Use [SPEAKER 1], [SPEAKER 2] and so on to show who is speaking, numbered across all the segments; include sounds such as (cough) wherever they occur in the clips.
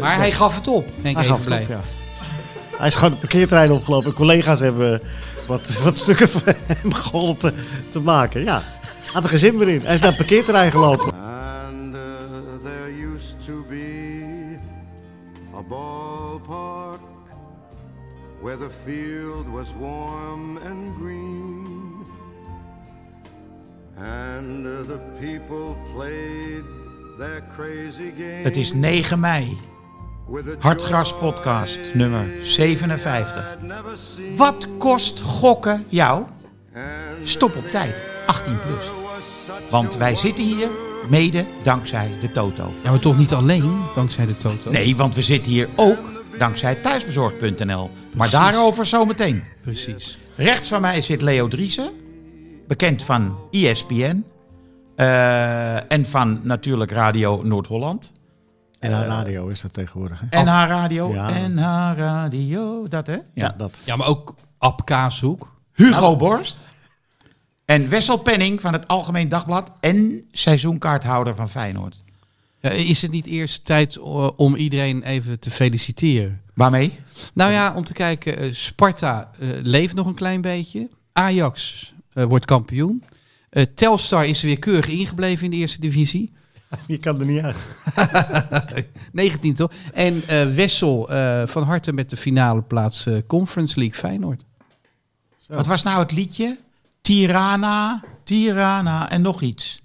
[SPEAKER 1] Maar hij gaf het op, Henk
[SPEAKER 2] Hij gaf het
[SPEAKER 1] Evenblij.
[SPEAKER 2] op, ja. Hij is gewoon de parkeertrein opgelopen. Collega's hebben wat, wat stukken voor hem geholpen te maken. Ja, had er geen zin meer in. Hij is naar het parkeerterrein gelopen.
[SPEAKER 3] And uh, there used to be a ballpark where the field was warm and green. And uh, the people played their crazy game.
[SPEAKER 4] Het is 9 mei.
[SPEAKER 3] with a
[SPEAKER 4] Hartgras
[SPEAKER 3] joy
[SPEAKER 4] podcast nummer 57.
[SPEAKER 3] I'd never seen.
[SPEAKER 4] Wat kost gokken jou?
[SPEAKER 3] And
[SPEAKER 4] Stop op tijd, 18 plus.
[SPEAKER 3] there was such
[SPEAKER 4] Want
[SPEAKER 3] a
[SPEAKER 4] wij zitten hier mede dankzij de Toto.
[SPEAKER 1] Ja, maar toch niet alleen, dankzij de Toto.
[SPEAKER 4] Nee, want we zitten hier ook dankzij thuisbezorgd.nl. Maar daarover zometeen.
[SPEAKER 1] Precies.
[SPEAKER 4] Rechts van mij zit Leo Driessen, bekend van E ESPN. eh, en van natuurlijk Radio Noord-Holland.
[SPEAKER 2] En haar radio is dat tegenwoordig, hè?
[SPEAKER 4] En haar radio.
[SPEAKER 2] Oh. Ja.
[SPEAKER 4] En haar radio. Dat hè? Ja.
[SPEAKER 2] Ja, dat.
[SPEAKER 1] Ja, maar ook Ab Kaashoek.
[SPEAKER 4] Hugo Borst. En Wessel Penning van het Algemeen Dagblad. En seizoenkaarthouder van Feyenoord.
[SPEAKER 1] Ja, is het niet eerst tijd eh, om iedereen even te feliciteren?
[SPEAKER 4] Waarmee?
[SPEAKER 1] Nou ja, om te kijken, eh, Sparta eh, leeft nog een klein beetje. Ajax eh, wordt kampioen. Eh, Telstar is weer keurig ingebleven in de eerste divisie.
[SPEAKER 2] Je kan er niet uit.
[SPEAKER 1] 19 toch? En eh, Wessel eh, van harte met de finale plaats eh, Conference League Feyenoord.
[SPEAKER 4] Wat was nou het liedje? Tirana, Tirana en nog iets.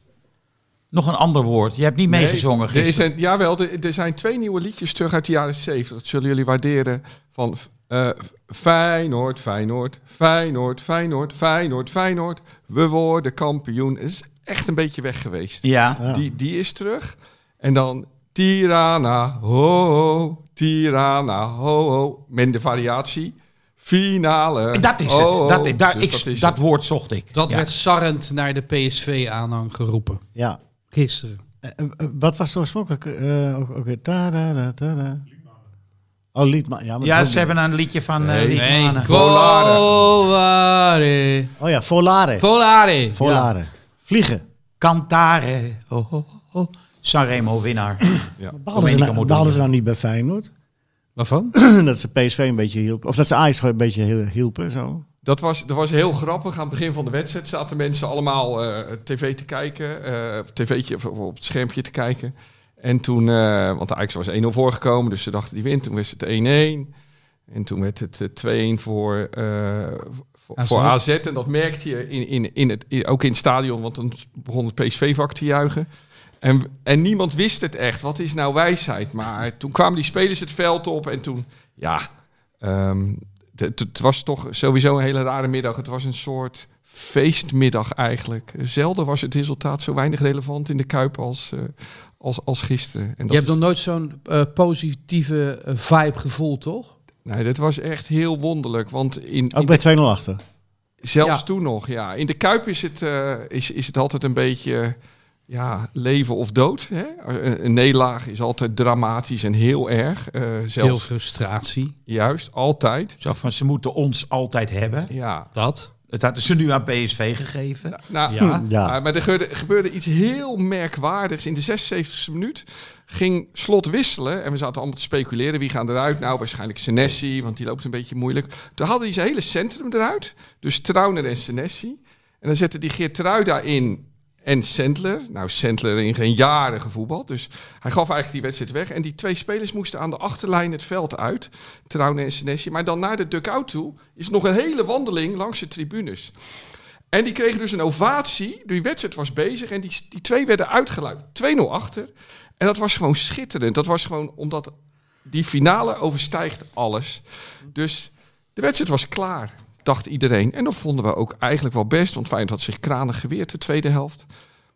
[SPEAKER 4] Nog een ander woord. Je hebt niet meegezongen
[SPEAKER 5] Nee, er
[SPEAKER 4] gisteren.
[SPEAKER 5] zijn, jawel, er, er zijn twee nieuwe liedjes terug uit de jaren 70. Dat zullen jullie waarderen. Van eh Feyenoord, Feyenoord, Feyenoord, Feyenoord, Feyenoord, Feyenoord. We worden kampioen. Het is echt een beetje weg geweest.
[SPEAKER 4] Ja.
[SPEAKER 2] Ja.
[SPEAKER 5] Die, die is terug. En dan Tirana, ho, ho, Tirana, ho, ho. Met de variatie. Finale.
[SPEAKER 4] Dat is
[SPEAKER 5] ho, ho.
[SPEAKER 4] het. Dat, is- daar,
[SPEAKER 5] Dus
[SPEAKER 4] ik,
[SPEAKER 5] dat
[SPEAKER 4] dat,
[SPEAKER 5] is het.
[SPEAKER 4] woord zocht ik.
[SPEAKER 1] Dat
[SPEAKER 4] Ja.
[SPEAKER 1] werd sarrend naar de PSV-aanhang geroepen.
[SPEAKER 2] Ja.
[SPEAKER 1] Gisteren.
[SPEAKER 2] Eh, eh, eh, wat was zo oorspronkelijk? Eh, ook, ook weer ta-da-da, ta-da. Oh, Liedman. Ja, maar
[SPEAKER 4] Ja,
[SPEAKER 2] dat-
[SPEAKER 4] ze hebben een liedje van eh,
[SPEAKER 5] Nee.
[SPEAKER 4] Lieve Mannen.
[SPEAKER 5] Volare.
[SPEAKER 1] Volare.
[SPEAKER 2] Oh ja, Volare.
[SPEAKER 1] Volare.
[SPEAKER 2] Volare. Vliegen.
[SPEAKER 4] Cantare. Oh, Ho, ho, ho. Sanremo winnaar.
[SPEAKER 2] Baalden ze,
[SPEAKER 4] Domenico
[SPEAKER 2] nou,
[SPEAKER 4] Modugno.
[SPEAKER 2] baalden ze nou niet bij Feyenoord?
[SPEAKER 1] Ja. Waarvan?
[SPEAKER 2] (clears throat) dat ze PSV een beetje hielpen. Of dat ze Ajax een beetje hiel- hielpen, zo.
[SPEAKER 5] Dat was, dat was heel grappig. Aan het begin van de wedstrijd zaten mensen allemaal eh, tv te kijken. eh, op tv'tje of op het schermpje te kijken. En toen, eh, want de Ajax was 1-0 voorgekomen, dus ze dachten die wint. Toen was het 1-1. En toen werd het eh, 2-1 voor, eh, voor,
[SPEAKER 1] AZ.
[SPEAKER 5] voor AZ. En dat merkte je in, in, in het, in- ook in het stadion, want dan begon het PSV-vak te juichen. En, en niemand wist het echt. Wat is nou wijsheid? Maar toen kwamen die spelers het veld op en toen, ja, Ehm, het, het was toch sowieso een hele rare middag. Het was een soort feestmiddag eigenlijk. Zelden was het resultaat zo weinig relevant in de Kuip als, eh, als, als gisteren. En dat
[SPEAKER 1] Je hebt
[SPEAKER 5] is-
[SPEAKER 1] nog nooit zo'n eh, positieve eh, vibe gevoeld, toch?
[SPEAKER 5] nee, dat was echt heel wonderlijk. Want in,
[SPEAKER 2] Ook
[SPEAKER 5] in-
[SPEAKER 2] bij 2-0 achter.
[SPEAKER 5] zelfs
[SPEAKER 1] Ja.
[SPEAKER 5] toen nog, ja. In de Kuip is het, eh, is, is het altijd een beetje eh, ja, leven of dood. Hè? Een, een nederlaag is altijd dramatisch en heel erg. eh,
[SPEAKER 1] Veel
[SPEAKER 5] zelfs,
[SPEAKER 1] frustratie.
[SPEAKER 5] juist, altijd.
[SPEAKER 4] Zo van, ze moeten ons altijd hebben.
[SPEAKER 5] Ja,
[SPEAKER 1] Dat.
[SPEAKER 4] Dat hadden ze nu aan PSV gegeven.
[SPEAKER 5] Nou,
[SPEAKER 2] Ja.
[SPEAKER 5] ja.
[SPEAKER 2] Ja.
[SPEAKER 5] Maar- maar er gebeurde, gebeurde iets heel merkwaardigs. In de 76e minuut ging Slot wisselen. En we zaten allemaal te speculeren. Wie gaan eruit? Nou, waarschijnlijk Senesi, want die loopt een beetje moeilijk. Toen hadden die zijn hele centrum eruit. Dus Trauner en Senesi. En dan zette die Geertruida in en Sendler. Nou, Sendler in geen jaren gevoetbald. Dus hij gaf eigenlijk die wedstrijd weg. En die twee spelers moesten aan de achterlijn het veld uit. Trauner en Senesi. Maar dan naar de dugout toe is nog een hele wandeling langs de tribunes. En die kregen dus een ovatie. Die wedstrijd was bezig en die, die twee werden uitgeluid. 2-0 achter. En dat was gewoon schitterend. Dat was gewoon omdat die finale overstijgt alles. Dus de wedstrijd was klaar, dacht iedereen. En dat vonden we ook eigenlijk wel best. Want Feyenoord had zich kranig geweerd de tweede helft.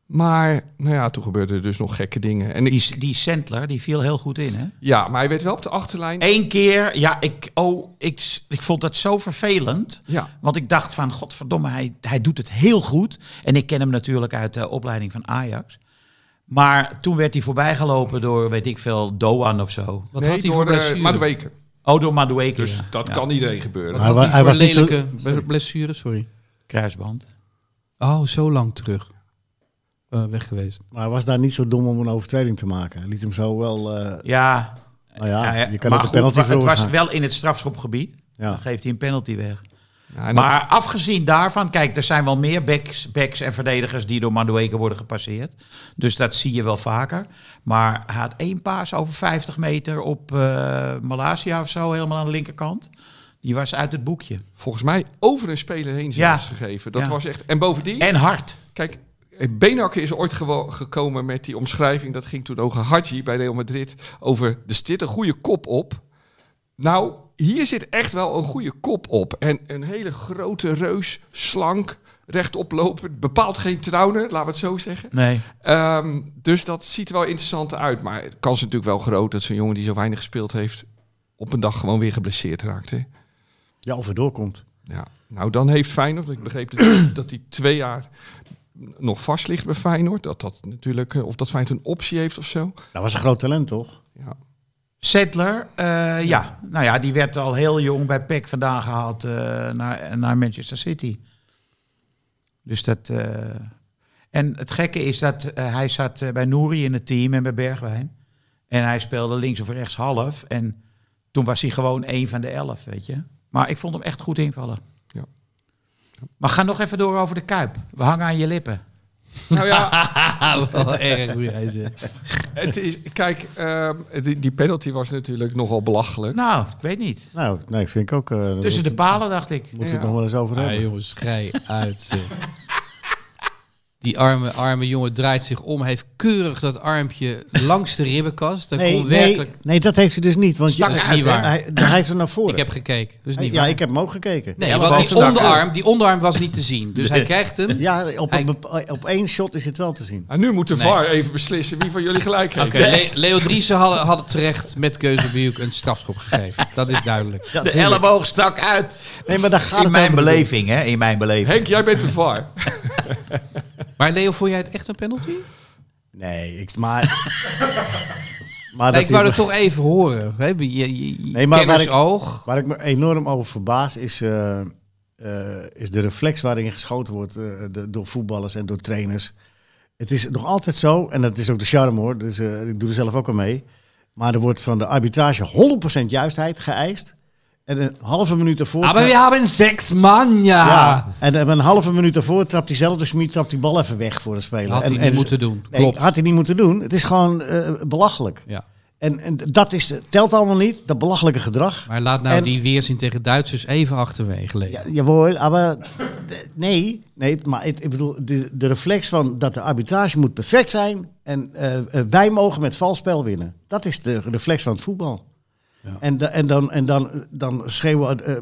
[SPEAKER 5] Maar nou ja, toen gebeurden er dus nog gekke dingen. En ik,
[SPEAKER 4] Die, die Sentler, die viel heel goed in, hè?
[SPEAKER 5] ja, maar hij werd wel op de achterlijn.
[SPEAKER 4] Eén keer, ja, ik, oh, ik, ik vond dat zo vervelend.
[SPEAKER 5] Ja,
[SPEAKER 4] Want ik dacht van, godverdomme, hij, hij doet het heel goed. En ik ken hem natuurlijk uit de opleiding van Ajax. Maar toen werd hij voorbijgelopen door, weet ik veel, Doan of zo.
[SPEAKER 1] Wat
[SPEAKER 5] Nee,
[SPEAKER 1] had hij
[SPEAKER 5] door,
[SPEAKER 1] voor
[SPEAKER 5] eh,
[SPEAKER 1] blessure?
[SPEAKER 5] Madueke.
[SPEAKER 4] Oh, door Madueke.
[SPEAKER 5] Dus
[SPEAKER 4] ja.
[SPEAKER 5] dat
[SPEAKER 4] Ja,
[SPEAKER 5] kan iedereen gebeuren.
[SPEAKER 1] Wat
[SPEAKER 2] Hij
[SPEAKER 1] had
[SPEAKER 2] wa-
[SPEAKER 1] hij
[SPEAKER 2] hij
[SPEAKER 1] voor
[SPEAKER 2] was niet zo-
[SPEAKER 1] lelijke be- blessure? Sorry.
[SPEAKER 4] Kruisband.
[SPEAKER 1] Oh, zo lang terug. Eh, weg geweest. (laughs)
[SPEAKER 2] Maar hij was daar niet zo dom om een overtreding te maken. Hij liet hem zo wel... eh,
[SPEAKER 4] Ja,
[SPEAKER 2] Nou ja,
[SPEAKER 4] Nou ja,
[SPEAKER 2] je kan
[SPEAKER 4] maar
[SPEAKER 2] ook een
[SPEAKER 4] goed,
[SPEAKER 2] penalty
[SPEAKER 4] maar Het was
[SPEAKER 2] veroorzaken.
[SPEAKER 4] wel in het strafschopgebied.
[SPEAKER 2] Ja.
[SPEAKER 4] Dan geeft hij een penalty weg.
[SPEAKER 5] Ja, en dat-
[SPEAKER 4] Maar afgezien daarvan, kijk, er zijn wel meer backs, backs en verdedigers die door Madueke worden gepasseerd. Dus dat zie je wel vaker. Maar hij had één paas over 50 meter op eh Malaysia of zo, helemaal aan de linkerkant. Die was uit het boekje.
[SPEAKER 5] volgens mij over een speler heen zelfs gegeven. Dat
[SPEAKER 4] Ja.
[SPEAKER 5] was echt... En bovendien,
[SPEAKER 4] En hard.
[SPEAKER 5] kijk, Benakker is ooit gewo- gekomen met die omschrijving. Dat ging toen over Hadji bij Real Madrid. Over, er zit een goede kop op. Nou, hier zit echt wel een goede kop op. En een hele grote reus, slank, rechtop lopend. Bepaald geen trouwner, laten we het zo zeggen.
[SPEAKER 4] Nee.
[SPEAKER 5] Ehm, dus dat ziet er wel interessant uit. Maar de kans is natuurlijk wel groot dat zo'n jongen die zo weinig gespeeld heeft... op een dag gewoon weer geblesseerd raakt. Hè?
[SPEAKER 2] Ja, of er doorkomt.
[SPEAKER 5] Ja, nou dan heeft Feyenoord, ik begreep dus dat, dat hij twee jaar nog vast ligt bij Feyenoord. Dat dat natuurlijk, eh, of dat Feyenoord een optie heeft of zo.
[SPEAKER 2] Dat was een groot talent, toch?
[SPEAKER 5] Ja.
[SPEAKER 4] Settler, eh, ja. Nou ja, die werd al heel jong bij PEC vandaan gehaald eh, naar, naar Manchester City. Dus dat... eh, En het gekke is dat eh, hij zat eh, bij Nouri in het team en bij Bergwijn. En hij speelde links of rechts half. En toen was hij gewoon één van de elf, weet je. Maar ik vond hem echt goed invallen.
[SPEAKER 5] Ja.
[SPEAKER 4] Maar ga nog even door over de Kuip. We hangen aan je lippen.
[SPEAKER 5] Nou
[SPEAKER 1] (laughs)
[SPEAKER 5] ja,
[SPEAKER 1] Ah, wel erg hoe jij zegt.
[SPEAKER 5] het is, kijk, ehm, die, die penalty was natuurlijk nogal belachelijk.
[SPEAKER 4] Nou, ik weet niet.
[SPEAKER 2] Nou, nee, vind ik ook. eh, daar
[SPEAKER 4] Tussen de
[SPEAKER 2] moeten
[SPEAKER 4] palen dacht ik.
[SPEAKER 2] we het
[SPEAKER 5] Ja.
[SPEAKER 2] nog wel eens over hebben.
[SPEAKER 1] Ah, jongens, schij uit. zeg. Die arme, arme jongen draait zich om, heeft keurig dat armpje langs de ribbenkast. Dan
[SPEAKER 2] nee,
[SPEAKER 1] kon werkelijk...
[SPEAKER 2] nee, nee, dat heeft hij dus niet. Want
[SPEAKER 1] Stak
[SPEAKER 2] je-
[SPEAKER 1] is
[SPEAKER 2] hij-
[SPEAKER 1] niet waar.
[SPEAKER 2] Hij, hij heeft er naar voren.
[SPEAKER 1] Ik heb gekeken, dus niet
[SPEAKER 2] ja,
[SPEAKER 1] waar.
[SPEAKER 2] ik heb hem ook gekeken.
[SPEAKER 1] Nee,
[SPEAKER 4] Ja,
[SPEAKER 1] want
[SPEAKER 4] maar
[SPEAKER 1] die
[SPEAKER 4] bovendag-
[SPEAKER 1] onderarm, die onderarm was niet te zien. Dus hij krijgt hem.
[SPEAKER 2] Ja, op,
[SPEAKER 1] Hij-
[SPEAKER 2] een bepa- op één shot is het wel te zien.
[SPEAKER 5] En nu moet de
[SPEAKER 1] Nee.
[SPEAKER 5] VAR even beslissen wie van jullie gelijk heeft.
[SPEAKER 1] Oké, Le- Leo Driessen had, had terecht met Keuzebuik een strafschop gegeven. Dat is duidelijk.
[SPEAKER 2] Ja,
[SPEAKER 4] De
[SPEAKER 2] tuurlijk.
[SPEAKER 4] elleboog stak uit.
[SPEAKER 2] Nee, maar daar gaat
[SPEAKER 4] In
[SPEAKER 2] het
[SPEAKER 4] mijn
[SPEAKER 2] helemaal niet om.
[SPEAKER 4] beleving, hè? In mijn beleving.
[SPEAKER 5] Henk, jij bent de VAR.
[SPEAKER 1] Maar Leo, vond jij het echt een penalty?
[SPEAKER 2] Nee, ik,
[SPEAKER 1] (laughs)
[SPEAKER 2] maar... maar
[SPEAKER 1] Nee,
[SPEAKER 2] dat
[SPEAKER 1] ik wou
[SPEAKER 2] hij-
[SPEAKER 1] het toch even horen. hè? Je, je, je
[SPEAKER 2] Nee, maar waar
[SPEAKER 1] kenners
[SPEAKER 2] ik-
[SPEAKER 1] oog.
[SPEAKER 2] Waar ik me enorm over verbaas is, eh, eh, is de reflex waarin geschoten wordt eh, de- door voetballers en door trainers. Het is nog altijd zo, en dat is ook de charme hoor, dus eh, ik doe er zelf ook aan mee. Maar er wordt van de arbitrage 100% juistheid geëist. En een halve minuut daarvoor...
[SPEAKER 1] Ah, Maar we hebben seks man, ja.
[SPEAKER 2] ja, en een halve minuut daarvoor trapt diezelfde Schmid trapt die bal even weg voor de speler.
[SPEAKER 1] Had
[SPEAKER 2] en,
[SPEAKER 1] hij niet
[SPEAKER 2] en-
[SPEAKER 1] moeten doen.
[SPEAKER 2] Nee,
[SPEAKER 1] Klopt.
[SPEAKER 2] had hij niet moeten doen. Het is gewoon eh, belachelijk.
[SPEAKER 1] Ja.
[SPEAKER 2] En, en dat is, telt allemaal niet, dat belachelijke gedrag.
[SPEAKER 1] Maar laat nou
[SPEAKER 2] En-
[SPEAKER 1] die weerzin tegen Duitsers even achterwege Leo.
[SPEAKER 2] Ja, jawohl, maar d- nee, nee, maar het- ik bedoel, de, de reflex van dat de arbitrage moet perfect zijn en eh, eh, wij mogen met vals spel winnen. Dat is de reflex van het voetbal. En, da- en, dan, en dan, dan schreeuwen eh,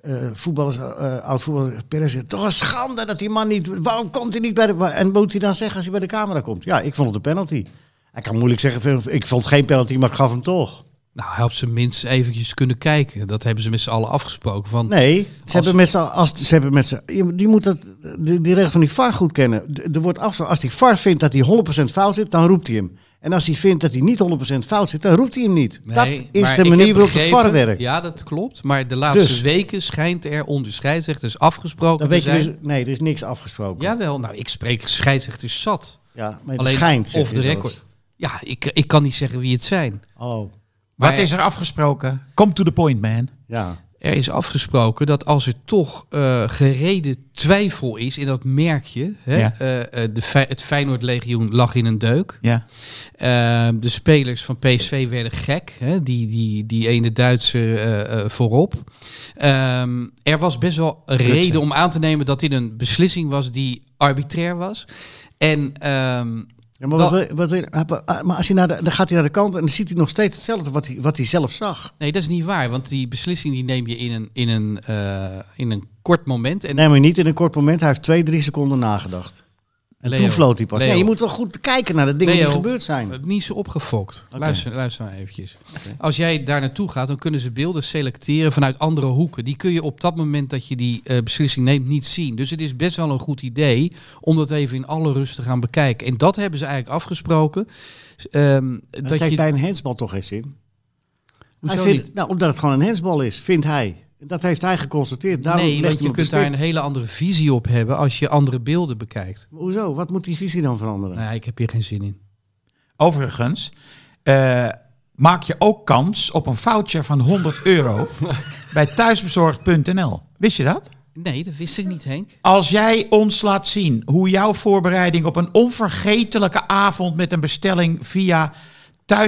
[SPEAKER 2] eh, voetballers, eh oud-voetballers, Perez, toch een schande dat die man niet, waarom komt hij niet bij de, en moet hij dan zeggen als hij bij de camera komt? Ja, ik vond het een penalty. Hij kan moeilijk zeggen, ik vond geen penalty, maar ik gaf hem toch.
[SPEAKER 1] Nou, help ze minstens eventjes kunnen kijken. Dat hebben ze met z'n allen afgesproken. Van,
[SPEAKER 2] Nee, ze
[SPEAKER 1] Als-
[SPEAKER 2] hebben met z'n als ze hebben met z'n je- die moet dat die, die regel van die VAR goed kennen. D- Er wordt afgesproken als die VAR vindt dat hij 100% fout zit, dan roept hij hem. En als hij vindt dat hij niet 100% fout zit, dan roept hij hem niet.
[SPEAKER 1] Nee,
[SPEAKER 2] dat is
[SPEAKER 1] maar
[SPEAKER 2] de
[SPEAKER 1] ik
[SPEAKER 2] manier
[SPEAKER 1] heb
[SPEAKER 2] waarop de
[SPEAKER 1] begrepen-
[SPEAKER 2] VAR werkt.
[SPEAKER 1] Ja, dat klopt. Maar de laatste
[SPEAKER 2] Dus.
[SPEAKER 1] weken schijnt er onder scheidsrechters afgesproken
[SPEAKER 2] Dan weet
[SPEAKER 1] te
[SPEAKER 2] je
[SPEAKER 1] zijn.
[SPEAKER 2] dus, nee, er is niks afgesproken. Ja,
[SPEAKER 1] Jawel, nou ik spreek scheidsrechters zat.
[SPEAKER 2] maar het schijnt. zeg
[SPEAKER 1] of
[SPEAKER 2] je
[SPEAKER 1] de
[SPEAKER 2] zelfs.
[SPEAKER 1] record. Ja, ik, ik kan niet zeggen wie het zijn.
[SPEAKER 2] Oh,
[SPEAKER 1] Maar
[SPEAKER 4] Wat is er afgesproken? Come to the point, man.
[SPEAKER 2] ja.
[SPEAKER 1] er is afgesproken dat als er toch eh, gereden twijfel is in dat merkje. Hè,
[SPEAKER 4] Ja.
[SPEAKER 1] eh, eh, de, Fey- het Feyenoord legioen lag in een deuk.
[SPEAKER 4] Ja.
[SPEAKER 1] Eh, de spelers van PSV werden gek. Hè? Die, die, die ene Duitser eh, eh, voorop. Ehm, er was best wel een
[SPEAKER 4] Rutsen.
[SPEAKER 1] reden om aan te nemen dat dit een beslissing was die arbitrair was. En ehm,
[SPEAKER 2] ja maar,
[SPEAKER 1] Dat-
[SPEAKER 2] wat, wil- wat, wil- ah, maar als hij naar de, dan gaat hij naar de kant en dan ziet hij nog steeds hetzelfde wat hij, wat hij zelf zag.
[SPEAKER 1] nee, dat is niet waar. Want die beslissing die neem je in een, in een, eh, in een kort moment. En
[SPEAKER 2] Nee, maar niet in een kort moment. Hij heeft twee, drie seconden nagedacht. En
[SPEAKER 1] Leo,
[SPEAKER 2] toen floot hij pas.
[SPEAKER 1] Leo.
[SPEAKER 2] Nee, je moet wel goed kijken naar de dingen
[SPEAKER 1] Leo, eh,
[SPEAKER 2] die gebeurd zijn.
[SPEAKER 1] Het niet zo opgefokt. Luister, luister maar eventjes. Als jij daar naartoe gaat, dan kunnen ze beelden selecteren vanuit andere hoeken. Die kun je op dat moment dat je die eh, beslissing neemt niet zien. Dus het is best wel een goed idee om dat even in alle rust te gaan bekijken. En dat hebben ze eigenlijk afgesproken. Ehm,
[SPEAKER 2] Dat
[SPEAKER 1] dat
[SPEAKER 2] heeft
[SPEAKER 1] je,
[SPEAKER 2] bij een handsbal toch geen zin.
[SPEAKER 1] hoezo
[SPEAKER 2] Hij vindt,
[SPEAKER 1] niet?
[SPEAKER 2] nou, omdat het gewoon een handsbal is, vindt hij. Dat heeft hij geconstateerd. Daarom
[SPEAKER 1] nee,
[SPEAKER 2] legt
[SPEAKER 1] want
[SPEAKER 2] hij hem
[SPEAKER 1] je
[SPEAKER 2] op
[SPEAKER 1] kunt
[SPEAKER 2] de
[SPEAKER 1] daar
[SPEAKER 2] stip.
[SPEAKER 1] een hele andere visie op hebben als je andere beelden bekijkt. Nou
[SPEAKER 2] Hoezo? Wat moet die visie dan veranderen?
[SPEAKER 1] Nee, ik heb hier geen zin in.
[SPEAKER 4] Overigens, eh, maak je ook kans op een voucher van 100 euro bij thuisbezorgd.nl. Wist je dat?
[SPEAKER 1] Nee, dat wist ik niet, Henk.
[SPEAKER 4] Als jij ons laat zien hoe jouw voorbereiding op een onvergetelijke avond met een bestelling via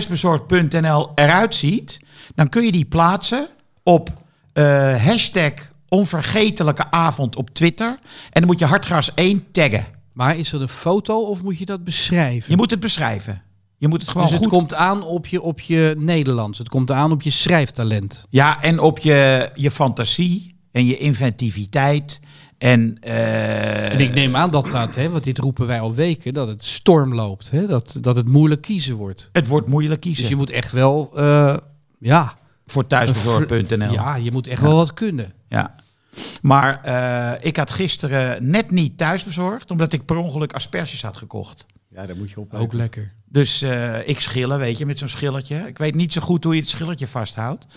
[SPEAKER 4] thuisbezorgd.nl eruit ziet, dan kun je die plaatsen op eh, hashtag onvergetelijke avond op Twitter. En dan moet je Hartgras 1 taggen.
[SPEAKER 1] Maar is dat een foto of moet je dat beschrijven?
[SPEAKER 4] Je moet het beschrijven. Je moet het gewoon
[SPEAKER 1] dus het
[SPEAKER 4] goed...
[SPEAKER 1] komt aan op je, op je Nederlands. Het komt aan op je schrijftalent.
[SPEAKER 4] Ja, en op je, je fantasie en je inventiviteit. En, eh,
[SPEAKER 1] En ik neem aan dat dat, hè, want dit roepen wij al weken, dat het storm loopt. Hè, dat, dat het moeilijk kiezen wordt.
[SPEAKER 4] het wordt moeilijk kiezen
[SPEAKER 1] Dus je moet echt wel, eh, ja,
[SPEAKER 4] voor thuisbezorgd.nl. Ja.
[SPEAKER 1] ja, je moet echt wel wat kunnen.
[SPEAKER 4] Maar eh, ik had gisteren net niet thuisbezorgd, omdat ik per ongeluk asperges had gekocht.
[SPEAKER 2] Ja, daar moet je op.
[SPEAKER 1] Ook lekker.
[SPEAKER 4] Dus eh, ik schillen, weet je, met zo'n schilletje. Ik weet niet zo goed hoe je het schilletje vasthoudt. Maar,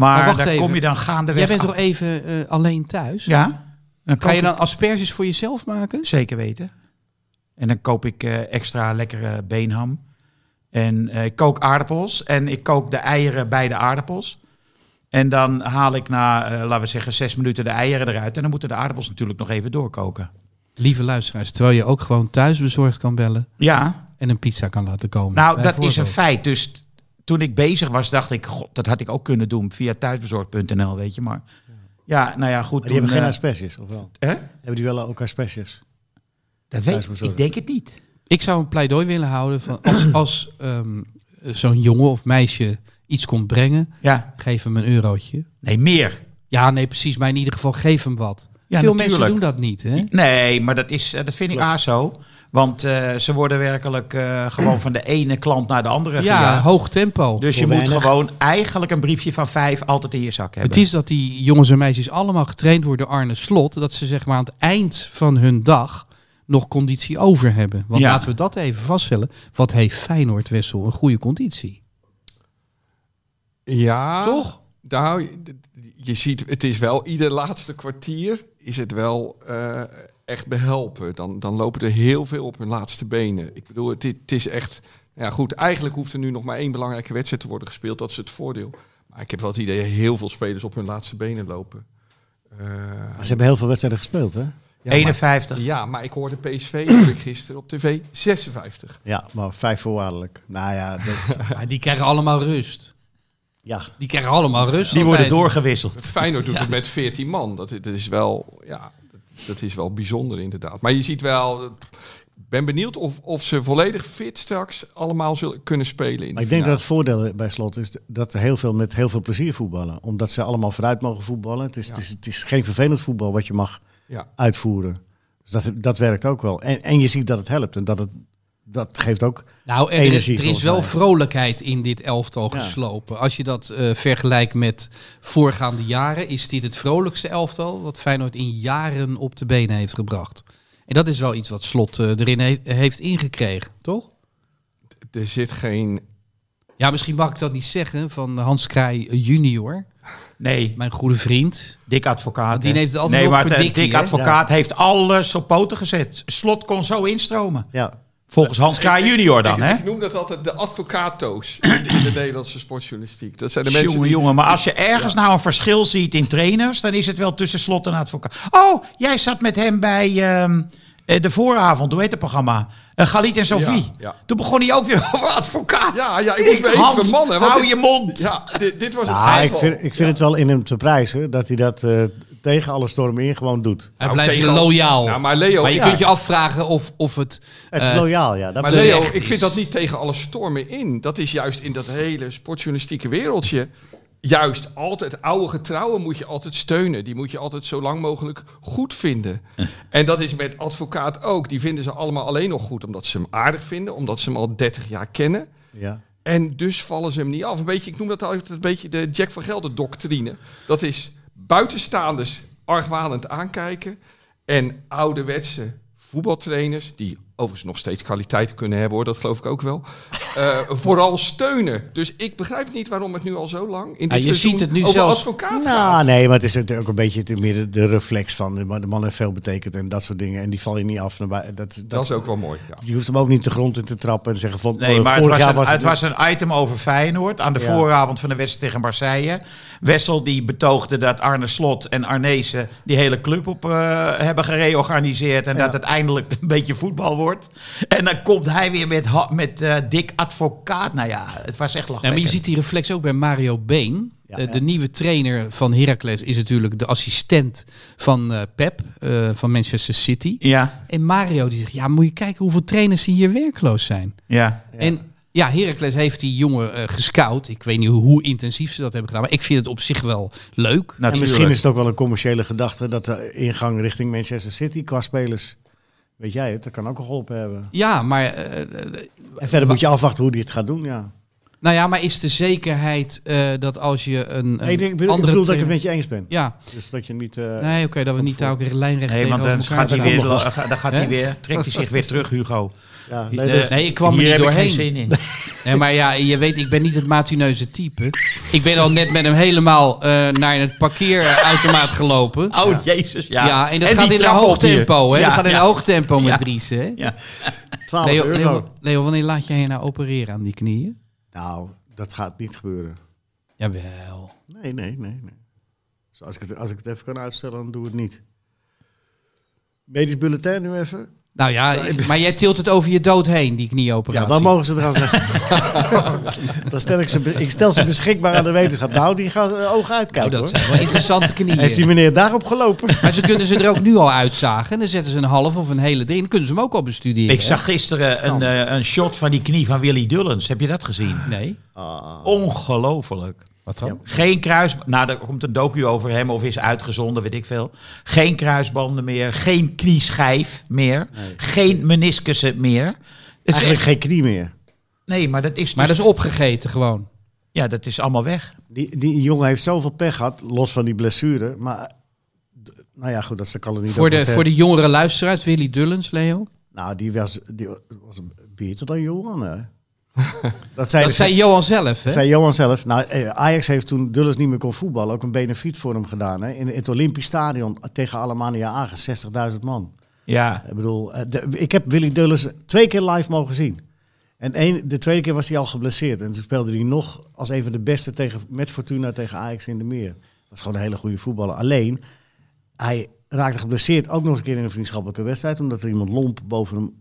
[SPEAKER 1] Maar Oh, wacht
[SPEAKER 4] daar
[SPEAKER 1] even.
[SPEAKER 4] kom je dan gaandeweg
[SPEAKER 1] Jij bent
[SPEAKER 4] achter-
[SPEAKER 1] toch even eh, alleen thuis?
[SPEAKER 4] Ja. Dan
[SPEAKER 1] Ga
[SPEAKER 4] koop
[SPEAKER 1] je
[SPEAKER 4] ik-
[SPEAKER 1] dan asperges voor jezelf maken?
[SPEAKER 4] Zeker weten. En dan koop ik eh, extra lekkere beenham. En eh, ik kook aardappels. En ik kook de eieren bij de aardappels. En dan haal ik na, eh, laten we zeggen, zes minuten de eieren eruit. En dan moeten de aardappels natuurlijk nog even doorkoken.
[SPEAKER 1] Lieve luisteraars, terwijl je ook gewoon thuis bezorgd kan bellen
[SPEAKER 4] Ja,
[SPEAKER 1] en een pizza kan laten komen.
[SPEAKER 4] nou dat
[SPEAKER 1] Bijvoorbeeld.
[SPEAKER 4] is een feit. Dus t- toen ik bezig was, dacht ik, god, dat had ik ook kunnen doen via thuisbezorgd.nl, weet je. Maar ja, nou ja, goed.
[SPEAKER 2] Maar die hebben geen
[SPEAKER 4] toen,
[SPEAKER 2] asperges, of wel?
[SPEAKER 4] eh, hè?
[SPEAKER 2] Hebben die wel ook asperges?
[SPEAKER 4] Dat weet ik.
[SPEAKER 2] Thuisbezorgd.
[SPEAKER 4] Ik denk het niet.
[SPEAKER 1] Ik zou een pleidooi willen houden van als, als ehm, zo'n jongen of meisje iets komt brengen,
[SPEAKER 4] Ja,
[SPEAKER 1] geef hem een eurotje.
[SPEAKER 4] nee, meer.
[SPEAKER 1] Ja, nee, precies. Maar in ieder geval geef hem wat.
[SPEAKER 4] Ja,
[SPEAKER 1] Veel mensen
[SPEAKER 4] natuurlijk.
[SPEAKER 1] doen dat niet, hè?
[SPEAKER 4] Nee, maar dat, is, eh, dat vind ik ASO. Want eh, ze worden werkelijk eh, gewoon van de ene klant naar de andere
[SPEAKER 1] Ja,
[SPEAKER 4] gejaagd.
[SPEAKER 1] hoog tempo.
[SPEAKER 4] Dus je
[SPEAKER 2] Voor
[SPEAKER 4] moet
[SPEAKER 2] weinig.
[SPEAKER 4] gewoon eigenlijk een briefje van vijf altijd in je zak hebben.
[SPEAKER 1] het is dat die jongens en meisjes allemaal getraind worden door Arne Slot. Dat ze zeg maar aan het eind van hun dag nog conditie over hebben. Want
[SPEAKER 4] Ja.
[SPEAKER 1] laten we dat even vaststellen. Wat heeft Feyenoord Wessel een goede conditie?
[SPEAKER 5] Ja.
[SPEAKER 1] Toch?
[SPEAKER 5] Nou, je- je ziet, het is wel ieder laatste kwartier is het wel eh, echt behelpen. Dan, dan lopen er heel veel op hun laatste benen. Ik bedoel, het, i- het is echt... Ja goed, eigenlijk hoeft er nu nog maar één belangrijke wedstrijd te worden gespeeld. Dat is het voordeel. Maar ik heb wel het idee dat heel veel spelers op hun laatste benen lopen. Eh,
[SPEAKER 2] Maar ze hebben heel veel wedstrijden gespeeld, hè?
[SPEAKER 5] ja,
[SPEAKER 4] 51.
[SPEAKER 5] maar, ja, maar ik hoorde PSV hoorde ik gisteren op tv 56.
[SPEAKER 2] Ja, maar vijf voorwaardelijk. Nou ja,
[SPEAKER 1] (laughs)
[SPEAKER 2] dat,
[SPEAKER 1] Ja, die krijgen allemaal rust.
[SPEAKER 2] ja.
[SPEAKER 1] Die krijgen allemaal rust.
[SPEAKER 4] Die worden
[SPEAKER 1] altijd.
[SPEAKER 4] doorgewisseld.
[SPEAKER 5] (laughs) Feyenoord doet het met 14 man. Dat, i- dat is wel, ja, dat, dat is wel bijzonder inderdaad. Maar je ziet wel, ik ben benieuwd of, of ze volledig fit straks allemaal zullen kunnen spelen. In de
[SPEAKER 2] Maar ik denk dat
[SPEAKER 5] finale.
[SPEAKER 2] het voordeel bij slot is dat er heel veel met heel veel plezier voetballen. Omdat ze allemaal vooruit mogen voetballen. Het is, het is, het is geen vervelend voetbal wat je mag
[SPEAKER 5] Ja.
[SPEAKER 2] uitvoeren. Dus dat, dat werkt ook wel. En, en je ziet dat het helpt. En dat, het, dat geeft ook.
[SPEAKER 1] Nou, er, is,
[SPEAKER 2] Energie,
[SPEAKER 1] er is
[SPEAKER 2] volgens
[SPEAKER 1] wel
[SPEAKER 2] mij.
[SPEAKER 1] vrolijkheid in dit elftal
[SPEAKER 2] Ja.
[SPEAKER 1] geslopen. Als je dat eh, vergelijkt met voorgaande jaren, is dit het vrolijkste elftal wat Feyenoord in jaren op de benen heeft gebracht. En dat is wel iets wat Slot eh, erin he- heeft ingekregen, toch?
[SPEAKER 5] Er zit geen...
[SPEAKER 1] Ja, misschien mag ik dat niet zeggen van Hans Kraai junior,
[SPEAKER 4] Nee,
[SPEAKER 1] mijn goede vriend.
[SPEAKER 4] dik advocaat.
[SPEAKER 1] die
[SPEAKER 4] hè.
[SPEAKER 1] neemt het altijd
[SPEAKER 4] nee,
[SPEAKER 1] op
[SPEAKER 4] maar
[SPEAKER 1] voor
[SPEAKER 4] de-
[SPEAKER 1] Dikkie,
[SPEAKER 4] dik
[SPEAKER 1] hè?
[SPEAKER 4] advocaat heeft alles op poten gezet. Slot kon zo instromen.
[SPEAKER 2] Ja,
[SPEAKER 4] Volgens Hans Kraai junior dan, hè?
[SPEAKER 5] Ik noem dat altijd de advocato's in de, in de Nederlandse sportjournalistiek. Dat zijn de mensen
[SPEAKER 4] Jongen,
[SPEAKER 5] die...
[SPEAKER 4] jongen, maar als je ergens nou een verschil ziet in trainers, dan is het wel tussen slot en advocaat. Oh, jij zat met hem bij ehm, eh, de vooravond, hoe heet het programma? Eh Galit en Sophie.
[SPEAKER 5] Ja, ja.
[SPEAKER 4] Toen begon hij ook weer over advocaat.
[SPEAKER 5] Ja, ja, ik moest me even
[SPEAKER 4] Hans,
[SPEAKER 5] vermannen, want
[SPEAKER 4] hou
[SPEAKER 5] ik-
[SPEAKER 4] je mond.
[SPEAKER 5] Ja, dit, dit was
[SPEAKER 2] Nou,
[SPEAKER 5] het
[SPEAKER 2] ik vind, ik vind het wel in hem te prijzen dat hij dat eh, tegen alle stormen in gewoon doet.
[SPEAKER 1] Hij
[SPEAKER 5] Nou,
[SPEAKER 1] blijft
[SPEAKER 5] tegen-
[SPEAKER 1] loyaal.
[SPEAKER 5] Ja, maar Leo,
[SPEAKER 1] maar je
[SPEAKER 5] ja.
[SPEAKER 1] kunt je afvragen of, of het...
[SPEAKER 2] Het is
[SPEAKER 1] eh,
[SPEAKER 2] loyaal, ja. Dat
[SPEAKER 5] Maar
[SPEAKER 2] bedoel ik.
[SPEAKER 5] Leo,
[SPEAKER 1] terecht
[SPEAKER 5] ik
[SPEAKER 1] is.
[SPEAKER 5] vind dat niet tegen alle stormen in. Dat is juist in dat hele sportjournalistieke wereldje. Juist altijd oude getrouwen moet je altijd steunen. Die moet je altijd zo lang mogelijk goed vinden. En dat is met advocaat ook. Die vinden ze allemaal alleen nog goed omdat ze hem aardig vinden, omdat ze hem al 30 jaar kennen.
[SPEAKER 2] ja.
[SPEAKER 5] En dus vallen ze hem niet af. Een beetje, ik noem dat altijd een beetje de Jack van Gelder doctrine. Dat is buitenstaanders argwanend aankijken. En ouderwetse voetbaltrainers, die overigens nog steeds kwaliteiten kunnen hebben hoor, dat geloof ik ook wel.
[SPEAKER 1] (laughs)
[SPEAKER 5] eh, vooral steunen. Dus ik begrijp niet waarom het nu al zo lang in dit
[SPEAKER 1] Ja, je
[SPEAKER 5] seizoen
[SPEAKER 1] ziet het nu
[SPEAKER 5] over
[SPEAKER 1] zelfs-
[SPEAKER 2] Nou,
[SPEAKER 5] advocaat gaat.
[SPEAKER 2] nee, maar het is natuurlijk ook een beetje te midden de reflex van de man de man heeft veel betekend en dat soort dingen. En die val je niet af. naar bui- Dat, dat,
[SPEAKER 5] Dat is ook wel mooi. Ja.
[SPEAKER 2] Je hoeft hem ook niet de grond in te trappen en zeggen van
[SPEAKER 4] Nee,
[SPEAKER 2] eh,
[SPEAKER 4] maar het
[SPEAKER 2] vorig
[SPEAKER 4] was,
[SPEAKER 2] jaar
[SPEAKER 4] een,
[SPEAKER 2] was
[SPEAKER 4] het was een item over Feyenoord aan de
[SPEAKER 2] Ja.
[SPEAKER 4] vooravond van de wedstrijd tegen Marseille. Wessel die betoogde dat Arne Slot en Arnezen die hele club op eh, hebben gereorganiseerd en
[SPEAKER 2] Ja.
[SPEAKER 4] dat het eindelijk een beetje voetbal wordt. En dan komt hij weer met, ha- met eh Dick Advocaat. Nou ja, het was echt
[SPEAKER 1] Ja, maar je
[SPEAKER 4] lachwekkend.
[SPEAKER 1] ziet die reflex ook bij Mario Been.
[SPEAKER 2] Ja,
[SPEAKER 1] Eh,
[SPEAKER 2] ja.
[SPEAKER 1] De nieuwe trainer van Heracles is natuurlijk de assistent van eh, Pep, eh, van Manchester City.
[SPEAKER 4] Ja,
[SPEAKER 1] En Mario die zegt, ja, moet je kijken hoeveel trainers die hier werkloos zijn.
[SPEAKER 4] ja.
[SPEAKER 1] En ja, Heracles heeft die jongen eh, gescout. Ik weet niet hoe, hoe intensief ze dat hebben gedaan, maar ik vind het op zich wel leuk.
[SPEAKER 2] En misschien is het ook wel een commerciële gedachte dat de ingang richting Manchester City qua spelers. Weet jij het? Dat kan ook al geholpen hebben.
[SPEAKER 1] Ja, maar, eh, eh,
[SPEAKER 2] En verder moet je afwachten hoe die het gaat doen. Ja.
[SPEAKER 1] nou ja, maar is de zekerheid eh, dat als je een, een
[SPEAKER 2] Nee, ik, denk- ik bedoel, ik bedoel
[SPEAKER 1] andere
[SPEAKER 2] dat ik
[SPEAKER 1] trainer-
[SPEAKER 2] het met je eens ben.
[SPEAKER 1] Ja,
[SPEAKER 2] Dus dat je niet. eh,
[SPEAKER 1] nee, oké, dat we niet daar ook een lijnrecht
[SPEAKER 4] Nee, want dan
[SPEAKER 1] tegenover
[SPEAKER 4] gaat, hij
[SPEAKER 1] elkaar
[SPEAKER 4] weer,
[SPEAKER 1] staan.
[SPEAKER 4] dan gaat
[SPEAKER 1] Hè?
[SPEAKER 4] hij weer, trekt hij zich weer terug, Hugo.
[SPEAKER 2] ja, nee,
[SPEAKER 4] Eh,
[SPEAKER 2] dat is-
[SPEAKER 1] Nee, ik kwam er
[SPEAKER 4] Hier
[SPEAKER 1] niet
[SPEAKER 4] heb ik geen
[SPEAKER 1] doorheen.
[SPEAKER 4] zin in.
[SPEAKER 1] Nee, maar ja, je weet, ik ben niet het matineuze type. Ik ben al net met hem helemaal eh, naar het parkeerautomaat gelopen.
[SPEAKER 4] Oh, jezus, ja.
[SPEAKER 1] Ja, en dat
[SPEAKER 4] die
[SPEAKER 1] gaat in een
[SPEAKER 4] trap
[SPEAKER 1] hoog
[SPEAKER 4] op hier.
[SPEAKER 1] tempo, hè?
[SPEAKER 4] Ja,
[SPEAKER 1] dat gaat in
[SPEAKER 4] ja.
[SPEAKER 1] een hoog tempo met
[SPEAKER 4] Ja.
[SPEAKER 1] Driessen, hè?
[SPEAKER 4] Ja.
[SPEAKER 2] 12
[SPEAKER 1] Leo,
[SPEAKER 2] euro.
[SPEAKER 1] Leo, Leo, wanneer laat jij je nou opereren aan die knieën?
[SPEAKER 2] Nou, dat gaat niet gebeuren.
[SPEAKER 1] Jawel.
[SPEAKER 2] Nee, nee, nee. nee. Dus als, ik het, als ik het even kan uitstellen, dan doe ik het niet. Medisch bulletin nu even.
[SPEAKER 1] Nou ja, maar jij tilt het over je dood heen, die knieoperatie.
[SPEAKER 2] Ja, dan mogen ze eraan zeggen.
[SPEAKER 1] (laughs)
[SPEAKER 2] dan stel ik, ze, be- ik stel ze beschikbaar aan de wetenschap. Nou, die gaan eh, ogen
[SPEAKER 1] Oh,
[SPEAKER 2] uitkijken
[SPEAKER 1] dat
[SPEAKER 2] hoor.
[SPEAKER 1] zijn wel
[SPEAKER 4] (laughs)
[SPEAKER 1] interessante knieën.
[SPEAKER 2] Heeft die meneer daarop gelopen?
[SPEAKER 1] Maar ze kunnen ze er ook nu al uitzagen. En dan zetten ze een half of een hele drie. En dan kunnen ze hem ook al bestuderen.
[SPEAKER 4] Ik zag gisteren een, eh, een shot van die knie van Willy Dullens. Heb je dat gezien?
[SPEAKER 1] hè? Nee,
[SPEAKER 4] Ongelooflijk.
[SPEAKER 1] Ah. wat dan?
[SPEAKER 4] Geen kruis... Nou, er komt een docu over hem of is uitgezonden, weet ik veel. Geen kruisbanden meer, geen knieschijf meer, geen meniscussen meer. Het is
[SPEAKER 2] Eigenlijk
[SPEAKER 4] echt-
[SPEAKER 2] geen knie meer.
[SPEAKER 4] Nee, maar dat is...
[SPEAKER 1] Maar
[SPEAKER 4] dus-
[SPEAKER 1] dat is opgegeten gewoon.
[SPEAKER 4] Ja, dat is allemaal weg.
[SPEAKER 2] Die, die jongen heeft zoveel pech gehad, los van die blessure. Maar, eh, d- nou ja, goed, dat ze kan het niet
[SPEAKER 1] Voor de,
[SPEAKER 2] documentaire-
[SPEAKER 1] voor de jongere luisteraars, Willy Dullens, Leo.
[SPEAKER 2] eh, Nou, die was, die was beter dan Johan,
[SPEAKER 1] (laughs)
[SPEAKER 2] hè? dat zei,
[SPEAKER 1] Dat zei Johan zelf, hè?
[SPEAKER 2] zei Johan zelf. Nou, eh, Ajax heeft toen Dulles niet meer kon voetballen... ook een benefiet voor hem gedaan. Hè? In het Olympisch Stadion tegen Alemania Agen, 60.000 man.
[SPEAKER 4] Ja.
[SPEAKER 2] Ik bedoel, eh, de- ik heb Willy Dulles twee keer live mogen zien. En één, de tweede keer was hij al geblesseerd. En toen speelde hij nog als een van de beste tegen, met Fortuna tegen Ajax in de meer. Was gewoon een hele goede voetballer. Alleen, hij raakte geblesseerd ook nog eens een keer in een vriendschappelijke wedstrijd. Omdat er iemand lomp boven hem,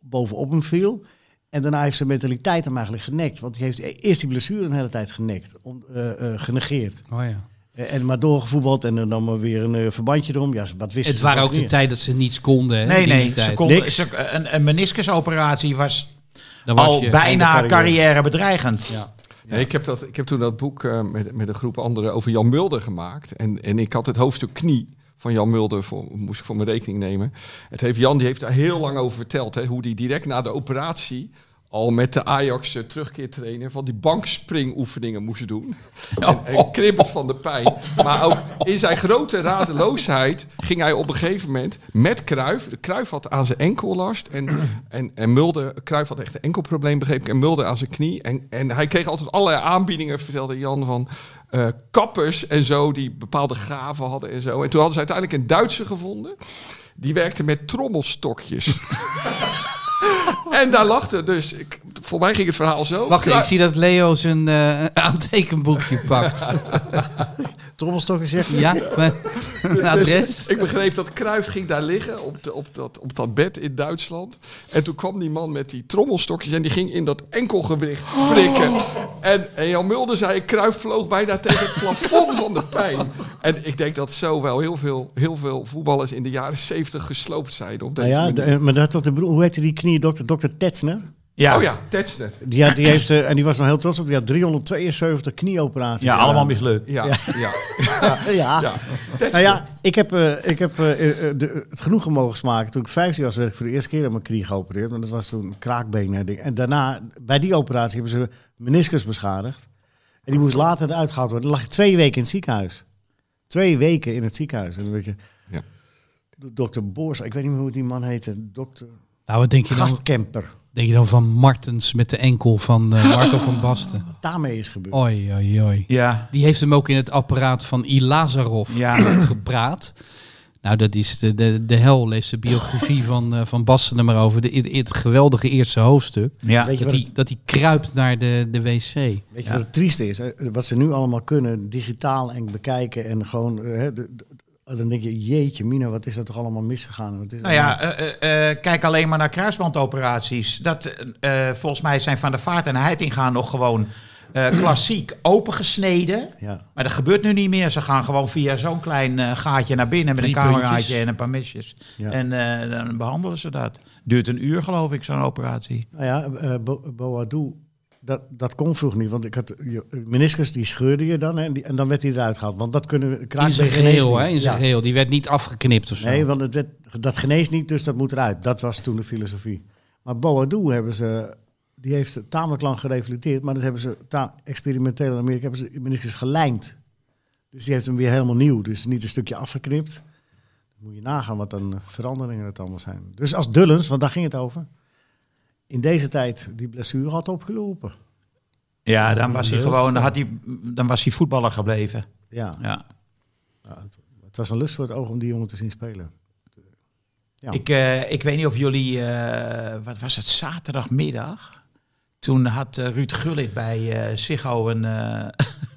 [SPEAKER 2] bovenop hem viel. En daarna heeft zijn mentaliteit hem eigenlijk genekt. Want hij heeft e- eerst die blessure een hele tijd genekt. om- eh, eh, genegeerd.
[SPEAKER 1] Oh, ja.
[SPEAKER 2] Eh, en maar doorgevoetbald en er dan maar weer een eh, verbandje erom. Ja, wat wisten
[SPEAKER 1] Het
[SPEAKER 2] ze
[SPEAKER 1] waren
[SPEAKER 2] toch
[SPEAKER 1] ook de
[SPEAKER 2] meer?
[SPEAKER 1] tijd dat ze niets konden. Hè?
[SPEAKER 4] Nee,
[SPEAKER 1] in die
[SPEAKER 4] nee.
[SPEAKER 1] tijd.
[SPEAKER 4] Ze konden,
[SPEAKER 2] Niks.
[SPEAKER 4] ze- een, een meniscusoperatie was,
[SPEAKER 1] Dan was
[SPEAKER 4] al
[SPEAKER 1] je-
[SPEAKER 4] bijna
[SPEAKER 2] einde carrière.
[SPEAKER 4] carrièrebedreigend. Ja.
[SPEAKER 5] Nee, ik, heb dat, ik heb toen dat boek eh, met, met een groep anderen over Jan Mulder gemaakt. En, en ik had het hoofdstuk knie van Jan Mulder, voor, moest ik voor mijn rekening nemen. Het heeft, Jan die heeft daar heel lang over verteld, hè, hoe die direct na de operatie al met de Ajax eh, terugkeertrainer van die bankspringoefeningen moest doen. En, en kribbelt van de pijn. Maar ook in zijn grote radeloosheid ging hij op een gegeven moment met Kruif. Kruif had aan zijn enkel last. En, en, en Mulder, Kruif had echt een enkelprobleem, begreep ik. En Mulder aan zijn knie. En, en hij kreeg altijd allerlei aanbiedingen, vertelde Jan, van eh, kappers en zo, die bepaalde gaven hadden en zo. En toen hadden ze uiteindelijk een Duitse gevonden. Die werkte met trommelstokjes. (laughs) en daar lachte dus. Ik, voor mij ging het verhaal zo.
[SPEAKER 1] Wacht,
[SPEAKER 5] Kruif-
[SPEAKER 1] ik zie dat Leo zijn eh, (laughs) aantekenboekje pakt.
[SPEAKER 2] Trommelstok is echt-
[SPEAKER 1] Ja, maar- een adres.
[SPEAKER 5] Dus Ik begreep dat Kruif ging daar liggen op, de, op, dat, op dat bed in Duitsland. En toen kwam die man met die trommelstokjes en die ging in dat enkelgewicht prikken.
[SPEAKER 2] Oh.
[SPEAKER 5] En, en Jan Mulder zei, Kruif vloog bijna tegen het plafond van de pijn. En ik denk dat zo wel heel veel, heel veel voetballers in de jaren zeventig gesloopt zijn op deze
[SPEAKER 2] Nou ja, de-
[SPEAKER 5] manier.
[SPEAKER 2] eh, maar dat tot de broer, hoe heette die kniedokter? Dokter Tetsner.
[SPEAKER 5] Oh ja, Tetsner.
[SPEAKER 2] Die, had, die heeft, eh, en die was nog heel trots op, die had 372 knieoperaties.
[SPEAKER 4] Ja,
[SPEAKER 2] gedaan.
[SPEAKER 4] allemaal mislukt.
[SPEAKER 5] Ja, ja. ja.
[SPEAKER 2] Ja, ja.
[SPEAKER 5] Tetsner.
[SPEAKER 2] Nou ja, ik heb, eh, ik heb eh, eh, eh, de- het genoegen mogen smaken. Toen ik 15 was, werd ik voor de eerste keer aan mijn knie geopereerd. Want dat was toen een kraakbeen. en ding. En daarna, bij die operatie, hebben ze meniscus beschadigd. En die moest later eruit gehaald worden. Dan lag ik twee weken in het ziekenhuis. Twee weken in het ziekenhuis. En dan weet je...
[SPEAKER 5] Ja.
[SPEAKER 2] Dokter Boors, ik weet niet meer hoe die man heette. Dokter
[SPEAKER 1] Nou, wat denk je dan?
[SPEAKER 2] Gastkemper.
[SPEAKER 1] Denk je dan van Martens met de enkel van eh, Marco van Basten?
[SPEAKER 2] Daarmee is gebeurd.
[SPEAKER 1] Oi, oi, oi.
[SPEAKER 4] Ja.
[SPEAKER 1] Die heeft hem ook in het apparaat van I. Lazarov
[SPEAKER 4] Ja.
[SPEAKER 1] (clears throat) gepraat. Nou, dat is de, de, de hel. Lees de biografie van, eh, van Basten er maar over. De, het, het geweldige eerste hoofdstuk.
[SPEAKER 4] Ja.
[SPEAKER 2] Weet je
[SPEAKER 1] Dat
[SPEAKER 2] wat
[SPEAKER 1] hij, dat hij kruipt naar de, de wc.
[SPEAKER 2] Weet je
[SPEAKER 4] Ja.
[SPEAKER 2] wat het trieste is? hè? Wat ze nu allemaal kunnen, digitaal en bekijken en gewoon... eh, hè, de- de- dan denk je, jeetje mina, wat is dat toch allemaal misgegaan? Wat is
[SPEAKER 4] Nou ja, eh, eh, eh, kijk alleen maar naar kruisbandoperaties. Dat, eh, eh, volgens mij zijn Van der Vaart en Heiting gaan nog gewoon eh, klassiek opengesneden.
[SPEAKER 2] Ja.
[SPEAKER 4] Maar dat gebeurt nu niet meer. Ze gaan gewoon via zo'n klein eh, gaatje naar binnen met
[SPEAKER 1] Drie
[SPEAKER 4] een cameraatje
[SPEAKER 1] puntjes.
[SPEAKER 4] en een paar mesjes.
[SPEAKER 2] Ja.
[SPEAKER 4] En eh, dan behandelen ze dat. Duurt een uur geloof ik, zo'n operatie.
[SPEAKER 2] Nou ja, eh, Bo- Boadu, dat, dat kon vroeger niet. Want ik had, je- meniscus, die scheurde je dan hè, en, die, en dan werd hij eruit gehaald. Want dat kunnen
[SPEAKER 1] In zijn
[SPEAKER 2] kraakbeen geneest
[SPEAKER 1] geheel,
[SPEAKER 2] niet.
[SPEAKER 1] hè? In zijn
[SPEAKER 2] Ja.
[SPEAKER 1] geheel. Die werd niet afgeknipt of zo.
[SPEAKER 2] Nee, want het werd, dat geneest niet, dus dat moet eruit. Dat was toen de filosofie. Maar Boadu hebben ze, die heeft tamelijk lang gerevalideerd, maar dat hebben ze ta- experimenteel in Amerika hebben ze meniscus gelijmd. Dus die heeft hem weer helemaal nieuw, dus niet een stukje afgeknipt. Dan moet je nagaan wat dan eh, veranderingen het allemaal zijn. Dus als Dullens, want daar ging het over, in deze tijd die blessure had opgelopen.
[SPEAKER 4] Ja, dan was hij
[SPEAKER 2] Lust,
[SPEAKER 4] gewoon, dan,
[SPEAKER 2] ja.
[SPEAKER 4] had hij, dan was hij voetballer gebleven.
[SPEAKER 2] Ja,
[SPEAKER 4] Ja.
[SPEAKER 2] ja, het, het was een lust voor het oog om die jongen te zien spelen. Ja.
[SPEAKER 4] Ik, eh, ik weet niet of jullie, eh, wat was het, zaterdagmiddag? Toen had eh, Ruud Gullit bij eh Ziggo een eh,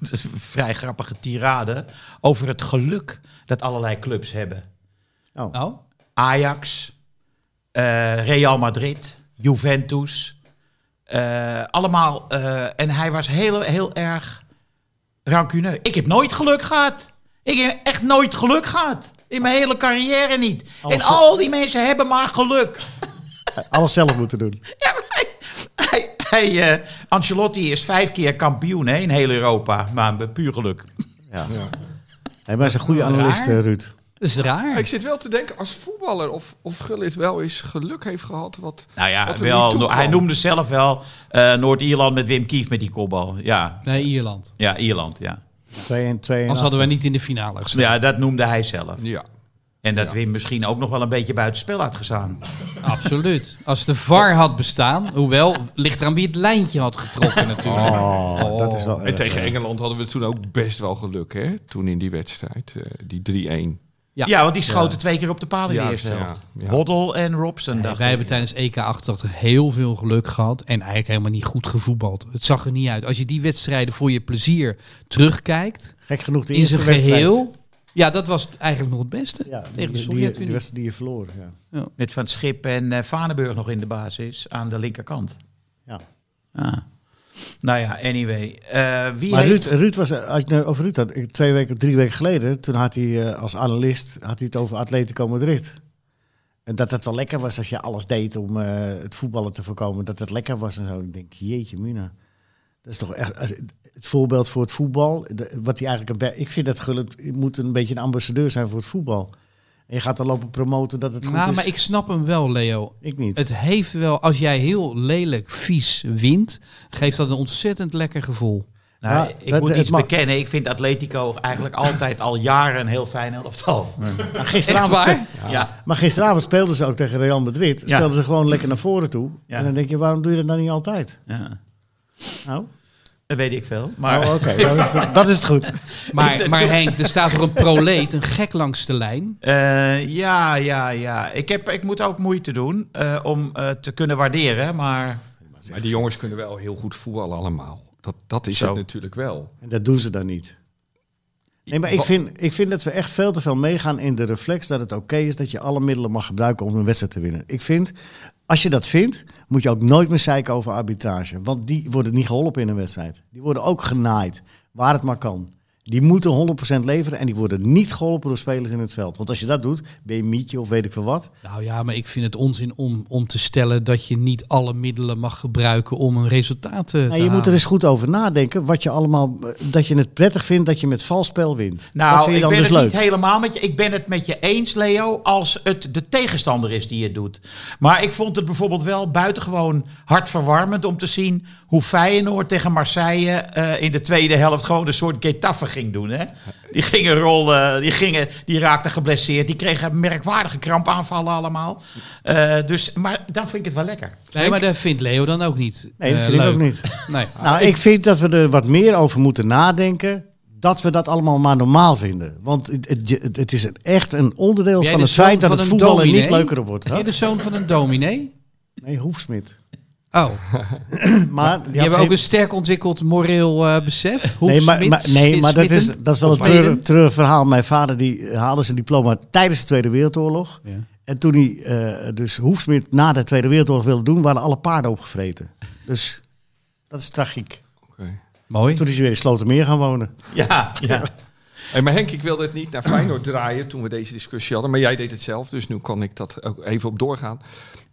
[SPEAKER 4] (laughs) dat is een vrij grappige tirade over het geluk dat allerlei clubs hebben.
[SPEAKER 2] Oh,
[SPEAKER 1] Nou,
[SPEAKER 4] Ajax, eh, Real Madrid, Juventus. eh, allemaal. eh, en hij was heel, heel erg rancuneus. Ik heb nooit geluk gehad. Ik heb echt nooit geluk gehad. In mijn hele carrière niet.
[SPEAKER 2] Alles
[SPEAKER 4] en
[SPEAKER 2] Oh, zo-
[SPEAKER 4] al die mensen hebben maar geluk.
[SPEAKER 2] alles zelf moeten doen.
[SPEAKER 4] Ja, maar hij, (laughs) hij, hij, eh, Ancelotti is vijf keer kampioen hè, in heel Europa. Maar met puur geluk.
[SPEAKER 2] Ja. Hij was een goede analist,
[SPEAKER 4] Raar.
[SPEAKER 2] eh, Ruud.
[SPEAKER 1] dat is raar.
[SPEAKER 5] Ik zit wel te denken, als voetballer of, of Gullit wel eens geluk heeft gehad. Wat,
[SPEAKER 4] Nou ja,
[SPEAKER 5] Wat er
[SPEAKER 4] wel,
[SPEAKER 5] niet toe kwam.
[SPEAKER 4] hij noemde zelf wel eh, Noord-Ierland met Wim Kief met die kopbal. Ja,
[SPEAKER 1] Nee, Ierland.
[SPEAKER 4] ja Ierland, ja.
[SPEAKER 2] Twee en twee en
[SPEAKER 1] Anders
[SPEAKER 2] acht.
[SPEAKER 1] hadden wij niet in de finale gestaan.
[SPEAKER 4] Ja, dat noemde hij zelf.
[SPEAKER 5] ja.
[SPEAKER 4] En dat
[SPEAKER 5] Ja.
[SPEAKER 4] Wim misschien ook nog wel een beetje buitenspel had gestaan.
[SPEAKER 1] Absoluut. Als de VAR had bestaan, hoewel, ligt eraan wie het lijntje had
[SPEAKER 2] (laughs)
[SPEAKER 1] getrokken natuurlijk.
[SPEAKER 2] Oh,
[SPEAKER 1] Oh.
[SPEAKER 2] dat is wel.
[SPEAKER 5] En
[SPEAKER 2] erg,
[SPEAKER 5] tegen
[SPEAKER 2] ja.
[SPEAKER 5] Engeland hadden we toen ook best wel geluk, hè? Toen in die wedstrijd, eh, die 3-1.
[SPEAKER 1] Ja.
[SPEAKER 4] Ja, want die schoten twee keer op de paal in de
[SPEAKER 5] Ja,
[SPEAKER 4] eerste
[SPEAKER 5] ja,
[SPEAKER 4] helft.
[SPEAKER 5] ja.
[SPEAKER 4] Hoddle en Robson, dacht
[SPEAKER 1] Wij
[SPEAKER 4] ik.
[SPEAKER 1] hebben tijdens EK88 heel veel geluk gehad en eigenlijk helemaal niet goed gevoetbald. Het zag er niet uit. Als je die wedstrijden voor je plezier terugkijkt,
[SPEAKER 2] Gek genoeg de
[SPEAKER 1] in
[SPEAKER 2] eerste
[SPEAKER 1] zijn
[SPEAKER 2] wedstrijd.
[SPEAKER 1] geheel... Ja, dat was eigenlijk nog het beste
[SPEAKER 2] Ja, die-
[SPEAKER 1] tegen de
[SPEAKER 2] die, die, die
[SPEAKER 1] Sovjet-Unie.
[SPEAKER 2] wedstrijd die je verloor. Ja.
[SPEAKER 4] Met Van Schip en eh, Vaneburg nog in de basis aan de linkerkant.
[SPEAKER 2] Ja.
[SPEAKER 4] Ah. Nou ja, anyway. Eh, wie
[SPEAKER 2] Maar
[SPEAKER 4] heeft...
[SPEAKER 2] Ruud, Ruud was, eh, als je het nou over Ruud had, ik- twee weken, drie weken geleden, toen had hij eh, als analist had hij het over Atletico Madrid. En dat het wel lekker was als je alles deed om eh, het voetballen te voorkomen, dat het lekker was en zo. Ik denk, jeetje mina. Dat is toch echt als- het voorbeeld voor het voetbal. de- wat hij eigenlijk, een be- ik vind dat Gullit je moet een beetje een ambassadeur zijn voor het voetbal. En je gaat dan lopen promoten dat het goed
[SPEAKER 1] Nou,
[SPEAKER 2] is.
[SPEAKER 1] maar ik snap hem wel, Leo.
[SPEAKER 2] Ik niet.
[SPEAKER 1] Het heeft wel, als jij heel lelijk, vies wint, geeft dat een ontzettend lekker gevoel.
[SPEAKER 4] Nou,
[SPEAKER 2] Ja,
[SPEAKER 4] ik
[SPEAKER 2] dat-
[SPEAKER 4] moet
[SPEAKER 2] het
[SPEAKER 4] iets
[SPEAKER 2] mag.
[SPEAKER 4] bekennen. Ik vind Atletico eigenlijk altijd al jaren een heel fijn elftal.
[SPEAKER 2] Maar gisteravond,
[SPEAKER 1] Echt
[SPEAKER 2] (laughs)
[SPEAKER 1] waar?
[SPEAKER 2] spe-
[SPEAKER 4] (laughs) Ja.
[SPEAKER 2] maar gisteravond speelden ze ook tegen Real Madrid.
[SPEAKER 4] Ja.
[SPEAKER 2] Speelden ze gewoon lekker naar voren toe.
[SPEAKER 4] Ja.
[SPEAKER 2] En dan denk je, waarom doe je dat nou niet altijd?
[SPEAKER 4] Ja.
[SPEAKER 2] Nou,
[SPEAKER 4] Dat weet ik veel. Maar
[SPEAKER 2] oh, oké, dat, is goed. dat is het goed.
[SPEAKER 1] Maar, maar Henk, er staat er een proleet, een gek langs de lijn.
[SPEAKER 4] Eh, ja, ja, ja. Ik, heb, ik moet ook moeite doen eh, om eh, te kunnen waarderen. Maar
[SPEAKER 5] Maar die jongens kunnen wel heel goed voetballen allemaal. Dat, dat is
[SPEAKER 4] Zo.
[SPEAKER 5] het natuurlijk wel.
[SPEAKER 2] En dat doen ze dan niet. Nee, maar ik
[SPEAKER 5] Wa-
[SPEAKER 2] vind, ik vind dat we echt veel te veel meegaan in de reflex dat het oké is dat je alle middelen mag gebruiken om een wedstrijd te winnen. Ik vind, als je dat vindt, moet je ook nooit meer zeiken over arbitrage. Want die worden niet geholpen in een wedstrijd. Die worden ook genaaid, waar het maar kan. Die moeten 100% leveren en die worden niet geholpen door spelers in het veld. Want als je dat doet, ben je mietje of weet ik veel wat.
[SPEAKER 1] Nou ja, maar ik vind het onzin om, om te stellen dat je niet alle middelen mag gebruiken om een resultaat eh, te
[SPEAKER 2] Nou, je moet er
[SPEAKER 1] halen.
[SPEAKER 2] eens goed over nadenken wat je allemaal, eh, dat je het prettig vindt dat je met vals spel wint. dat
[SPEAKER 4] nou,
[SPEAKER 2] vind je
[SPEAKER 4] ik
[SPEAKER 2] dan
[SPEAKER 4] ben
[SPEAKER 2] dus
[SPEAKER 4] het
[SPEAKER 2] leuk.
[SPEAKER 4] niet helemaal met je. Ik ben het met je eens, Leo, als het de tegenstander is die het doet. Maar ik vond het bijvoorbeeld wel buitengewoon hartverwarmend om te zien hoe Feyenoord tegen Marseille eh, in de tweede helft gewoon een soort Getafe ging doen. Hè? Die gingen rollen, die, gingen, die raakten geblesseerd. Die kregen merkwaardige krampaanvallen allemaal. Eh, dus, maar dan vind ik het wel lekker.
[SPEAKER 1] Nee, maar dat vindt Leo dan ook niet.
[SPEAKER 2] Nee, dat
[SPEAKER 1] eh,
[SPEAKER 2] vind ik
[SPEAKER 1] leuk.
[SPEAKER 2] ook niet.
[SPEAKER 1] Nee.
[SPEAKER 2] Nou, ik vind dat we er wat meer over moeten nadenken. Dat we dat allemaal maar normaal vinden. Want het, het, het is een- echt een onderdeel
[SPEAKER 1] Ben jij
[SPEAKER 2] van
[SPEAKER 1] de
[SPEAKER 2] het
[SPEAKER 1] zoon
[SPEAKER 2] feit dat
[SPEAKER 1] van
[SPEAKER 2] het
[SPEAKER 1] een
[SPEAKER 2] voetbal er niet
[SPEAKER 1] dominee?
[SPEAKER 2] leuker op wordt.
[SPEAKER 1] Ben je de zoon van een dominee?
[SPEAKER 2] Nee,
[SPEAKER 1] (clears throat)
[SPEAKER 2] Hoefsmid.
[SPEAKER 1] Oh,
[SPEAKER 2] Maar
[SPEAKER 1] die hebben ook een sterk ontwikkeld moreel eh, besef. Hoe
[SPEAKER 2] nee, maar, maar, nee, maar dat, is, dat is wel een
[SPEAKER 1] Of Smitten?
[SPEAKER 2] treurig, treurig verhaal. Mijn vader die eh, haalde zijn diploma tijdens de Tweede Wereldoorlog.
[SPEAKER 1] Ja.
[SPEAKER 2] En toen hij eh, dus Hoefsmid na de Tweede Wereldoorlog wilde doen, waren alle paarden opgevreten. Dus dat is tragiek.
[SPEAKER 5] Oké.
[SPEAKER 1] Mooi.
[SPEAKER 2] Toen is hij weer in Slotermeer gaan wonen.
[SPEAKER 4] Ja, ja.
[SPEAKER 5] Hey, maar Henk, ik wilde het niet naar Feyenoord draaien toen we deze discussie hadden. Maar jij deed het zelf, dus nu kan ik dat ook even op doorgaan.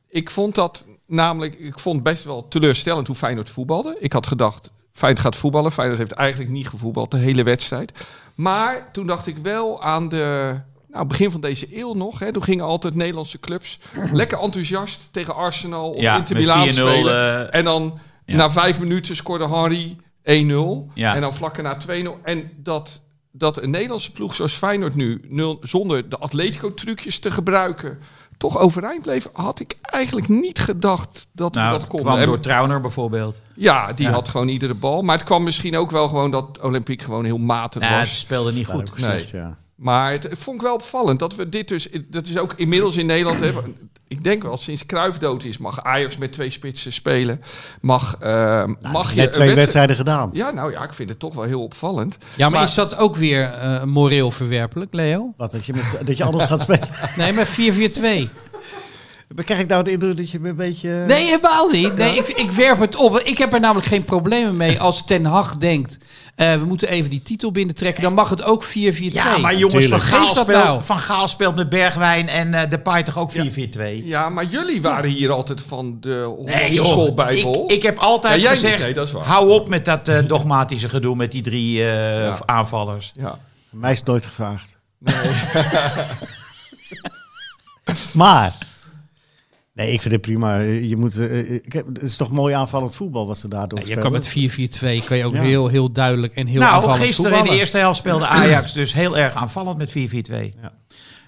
[SPEAKER 5] Ik vond dat namelijk, ik vond best wel teleurstellend hoe Feyenoord voetbalde. Ik had gedacht, Feyenoord gaat voetballen. Feyenoord heeft eigenlijk niet gevoetbald de hele wedstrijd. Maar toen dacht ik wel aan de, nou begin van deze eeuw nog. Hè, toen gingen altijd Nederlandse clubs lekker enthousiast tegen Arsenal of
[SPEAKER 4] Ja,
[SPEAKER 5] Inter
[SPEAKER 4] met
[SPEAKER 5] Milaan
[SPEAKER 4] 4-0,
[SPEAKER 5] spelen.
[SPEAKER 4] eh,
[SPEAKER 5] En dan
[SPEAKER 4] Ja.
[SPEAKER 5] na vijf minuten scoorde Harry 1-0.
[SPEAKER 4] Ja.
[SPEAKER 5] En dan vlakken na 2-0. En dat, dat een Nederlandse ploeg zoals Feyenoord nu, nul, zonder de Atletico-trucjes te gebruiken, toch overeind bleef, had ik eigenlijk niet gedacht dat
[SPEAKER 4] Nou,
[SPEAKER 5] we
[SPEAKER 4] dat
[SPEAKER 5] dat
[SPEAKER 4] kwam
[SPEAKER 5] konden. En-
[SPEAKER 4] door Trauner bijvoorbeeld.
[SPEAKER 5] ja, die
[SPEAKER 4] Ja.
[SPEAKER 5] had gewoon iedere bal. Maar het kwam misschien ook wel gewoon dat Olympiek gewoon heel matig
[SPEAKER 4] Nee, ze
[SPEAKER 5] was.
[SPEAKER 4] speelden niet goed.
[SPEAKER 5] Nee.
[SPEAKER 2] Slecht, ja.
[SPEAKER 5] Maar het, het vond ik wel opvallend dat we dit dus... Dat is ook inmiddels in Nederland... Hè, ik denk wel, sinds Cruijff dood is, mag Ajax met twee spitsen spelen. Mag, eh, mag je...
[SPEAKER 2] dus Net
[SPEAKER 5] een
[SPEAKER 2] twee
[SPEAKER 5] wedstrijd-
[SPEAKER 2] wedstrijden gedaan.
[SPEAKER 5] Ja, nou ja, ik vind het toch wel heel opvallend.
[SPEAKER 1] Ja, maar,
[SPEAKER 5] Maar-
[SPEAKER 1] is dat ook weer eh, moreel verwerpelijk, Leo?
[SPEAKER 2] Wat, dat je, met, dat je anders gaat spelen.
[SPEAKER 1] Nee, maar 4-4-2.
[SPEAKER 2] Maar Krijg ik nou de indruk dat je me een beetje... eh,
[SPEAKER 1] Nee, helemaal niet. Nee, ik, ik werp het op. Ik heb er namelijk geen problemen mee als Ten Hag denkt... eh, we moeten even die titel binnentrekken. Dan mag het ook 4-4-2.
[SPEAKER 4] Ja, maar jongens, van
[SPEAKER 2] Tuurlijk.
[SPEAKER 4] Gaal,
[SPEAKER 1] Geef dat
[SPEAKER 4] speelt,
[SPEAKER 1] nou.
[SPEAKER 4] van Gaal speelt met Bergwijn en eh, De Pai toch ook 4-4-2?
[SPEAKER 5] Ja, maar jullie waren hier altijd van de Hollandse
[SPEAKER 4] Nee, joh.
[SPEAKER 5] schoolbijbel.
[SPEAKER 4] Ik, ik heb altijd
[SPEAKER 5] Ja, jij niet,
[SPEAKER 4] gezegd,
[SPEAKER 5] nee, dat is waar.
[SPEAKER 4] hou op met dat eh, dogmatische gedoe met die drie eh,
[SPEAKER 5] Ja.
[SPEAKER 4] aanvallers.
[SPEAKER 5] Ja.
[SPEAKER 2] Mij is het nooit gevraagd. maar. Nee, ik vind het prima. Je moet, eh, ik heb- het is toch mooi aanvallend voetbal wat ze daardoor
[SPEAKER 1] Nou, je
[SPEAKER 2] spelen.
[SPEAKER 1] kan met 4-4-2 kan je ook
[SPEAKER 2] Ja.
[SPEAKER 1] heel, heel duidelijk en heel
[SPEAKER 4] nou,
[SPEAKER 1] aanvallend
[SPEAKER 4] gisteren in de
[SPEAKER 1] voetballen.
[SPEAKER 4] eerste helft speelde Ajax dus heel erg aanvallend met 4-4-2.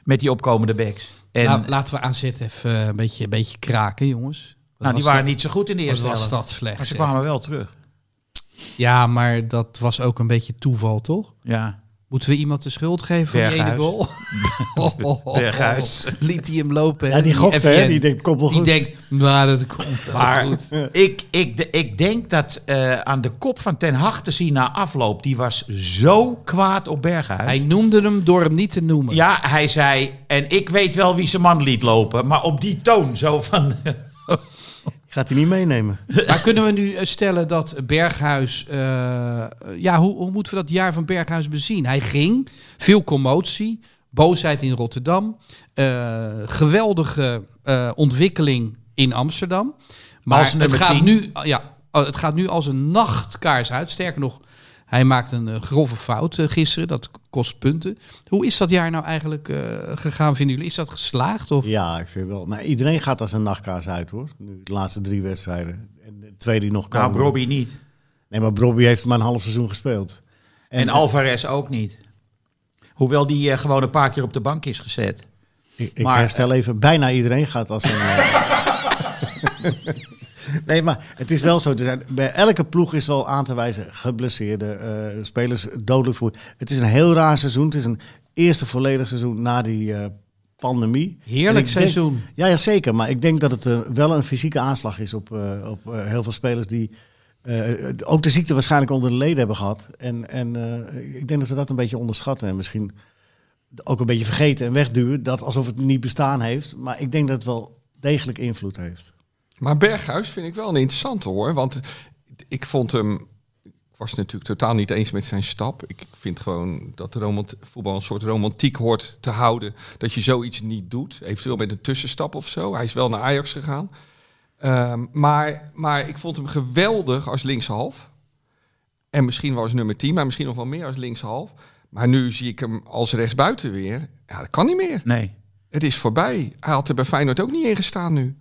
[SPEAKER 4] Met die opkomende backs. En,
[SPEAKER 1] Nou,
[SPEAKER 4] nou,
[SPEAKER 1] laten we AZ even eh, een beetje, een beetje kraken, jongens. Wat
[SPEAKER 4] die
[SPEAKER 1] was
[SPEAKER 4] waren
[SPEAKER 1] dat-
[SPEAKER 4] niet zo goed in de
[SPEAKER 1] wat
[SPEAKER 4] eerste
[SPEAKER 1] was
[SPEAKER 4] helft.
[SPEAKER 1] dat
[SPEAKER 4] Maar
[SPEAKER 1] slecht?
[SPEAKER 4] ze
[SPEAKER 1] zeg.
[SPEAKER 4] kwamen wel terug.
[SPEAKER 1] Ja, maar dat was ook een beetje toeval, toch?
[SPEAKER 4] Ja,
[SPEAKER 1] Moeten we iemand de schuld geven voor die ene
[SPEAKER 4] Berghuis. (laughs)
[SPEAKER 1] goal? Oh,
[SPEAKER 4] Berghuis.
[SPEAKER 1] Liet hij hem lopen.
[SPEAKER 2] Ja, die gokte, hè?
[SPEAKER 1] FN.
[SPEAKER 2] Die denkt, komt wel
[SPEAKER 1] Die
[SPEAKER 2] goed.
[SPEAKER 1] denkt, nou, dat komt wel
[SPEAKER 4] Maar
[SPEAKER 1] goed.
[SPEAKER 4] ik, ik, de- ik denk dat eh, aan de kop van Ten Hag te zien na afloop, die was zo kwaad op Berghuis.
[SPEAKER 1] Hij noemde hem door hem niet te noemen.
[SPEAKER 4] Ja, hij zei, en ik weet wel wie zijn man liet lopen, maar op die toon zo van... (laughs)
[SPEAKER 2] Gaat hij niet meenemen. (laughs)
[SPEAKER 1] (laughs) Maar kunnen we nu eh, stellen dat Berghuis... eh, ja, hoe, hoe moeten we dat jaar van Berghuis bezien? Hij ging, veel commotie, boosheid in Rotterdam... eh, geweldige eh, ontwikkeling in Amsterdam.
[SPEAKER 4] Als
[SPEAKER 1] Maar het
[SPEAKER 4] nummer
[SPEAKER 1] gaat,
[SPEAKER 4] 10.
[SPEAKER 1] nu, ja, eh, het gaat nu als een nachtkaars uit. Sterker nog, hij maakt een eh, grove fout eh, gisteren. Dat kost punten. Hoe is dat jaar nou eigenlijk eh, gegaan, vinden jullie? Is dat geslaagd? Of?
[SPEAKER 2] Ja, ik vind wel. Maar iedereen gaat als een nachtkaars uit, hoor. Nu, de laatste drie wedstrijden. En de twee die nog komen.
[SPEAKER 4] Nou, Robbie niet.
[SPEAKER 2] Nee, maar Robbie heeft maar een half seizoen gespeeld.
[SPEAKER 4] En, Alvarez ook niet. Hoewel die eh, gewoon een paar keer op de bank is gezet.
[SPEAKER 2] Ik, ik
[SPEAKER 4] Maar-
[SPEAKER 2] herstel even, bijna iedereen gaat als een...
[SPEAKER 4] (laughs)
[SPEAKER 2] eh, nee, maar het is wel zo. te zijn. bij elke ploeg is wel aan te wijzen geblesseerde eh, spelers, dodelijk voor. Het is een heel raar seizoen. Het is een eerste volledig seizoen na die eh, pandemie. En
[SPEAKER 1] Heerlijk
[SPEAKER 2] ik denk-
[SPEAKER 1] seizoen.
[SPEAKER 2] ja, ja, zeker. Maar ik denk dat het eh, wel een fysieke aanslag is op, eh, op eh, heel veel spelers die... eh, ook de ziekte waarschijnlijk onder de leden hebben gehad. En, en eh, ik denk dat ze dat een beetje onderschatten. En misschien ook een beetje vergeten en wegduwen. Dat alsof het niet bestaan heeft. Maar ik denk dat het wel degelijk invloed heeft.
[SPEAKER 5] Maar Berghuis vind ik wel een interessante hoor. Want ik vond hem. Ik was natuurlijk totaal niet eens met zijn stap. Ik vind gewoon dat de romant- voetbal een soort romantiek hoort te houden. Dat je zoiets niet doet. Eventueel met een tussenstap of zo. Hij is wel naar Ajax gegaan. Ehm, maar, maar ik vond hem geweldig als linkshalf. En misschien wel als nummer 10, maar misschien nog wel meer als linkshalf. Maar nu zie ik hem als rechtsbuiten weer. Ja, dat kan niet meer.
[SPEAKER 4] Nee.
[SPEAKER 5] Het is voorbij. Hij had er bij Feyenoord ook niet in gestaan nu.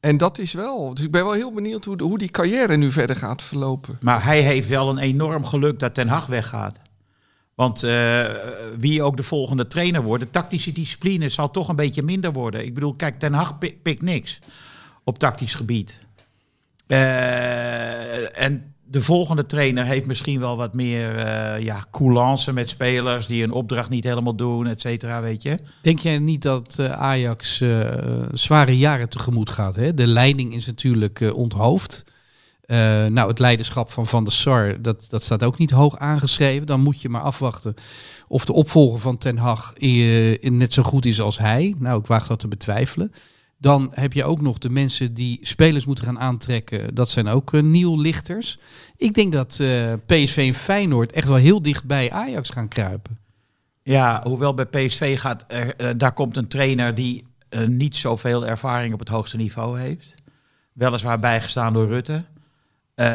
[SPEAKER 5] En dat is wel. Dus ik ben wel heel benieuwd hoe, de- hoe die carrière nu verder gaat verlopen.
[SPEAKER 4] Maar hij heeft wel een enorm geluk dat Ten Hag weggaat. Want eh, wie ook de volgende trainer wordt, de tactische discipline zal toch een beetje minder worden. Ik bedoel, kijk, Ten Hag pi- pikt niks op tactisch gebied. Eh, en de volgende trainer heeft misschien wel wat meer eh ja, coulance met spelers die hun opdracht niet helemaal doen, et cetera, weet je.
[SPEAKER 1] Denk jij niet dat eh, Ajax eh, zware jaren tegemoet gaat? Hè? De leiding is natuurlijk eh, onthoofd. Eh, nou, het leiderschap van Van der Sar, dat, dat staat ook niet hoog aangeschreven. Dan moet je maar afwachten of de opvolger van Ten Hag eh, net zo goed is als hij. Nou, ik waag dat te betwijfelen. Dan heb je ook nog de mensen die spelers moeten gaan aantrekken. Dat zijn ook eh, nieuw lichters. Ik denk dat eh, PSV en Feyenoord echt wel heel dicht bij Ajax gaan kruipen.
[SPEAKER 4] Ja, hoewel bij PSV gaat, eh, eh, daar komt een trainer die eh, niet zoveel ervaring op het hoogste niveau heeft. Weliswaar bijgestaan door Rutte. Eh,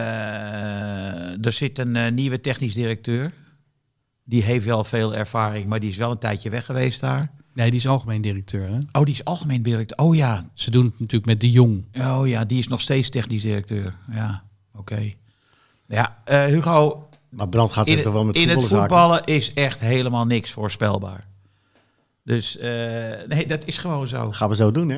[SPEAKER 4] er zit een eh, nieuwe technisch directeur. Die heeft wel veel ervaring, maar die is wel een tijdje weg geweest daar.
[SPEAKER 1] Nee, die is algemeen directeur. Hè?
[SPEAKER 4] Oh, die is algemeen directeur. Oh ja,
[SPEAKER 1] Ze doen het natuurlijk met de Jong.
[SPEAKER 4] Oh ja, die is nog steeds technisch directeur. Ja, oké. Ja, eh, Hugo,
[SPEAKER 2] Maar Brand gaat zich
[SPEAKER 4] in,
[SPEAKER 2] toch wel met
[SPEAKER 4] in het
[SPEAKER 2] voetballen zaken?
[SPEAKER 4] voetballen is echt helemaal niks voorspelbaar. Dus eh, nee, dat is gewoon zo.
[SPEAKER 2] Dat gaan we zo doen, hè?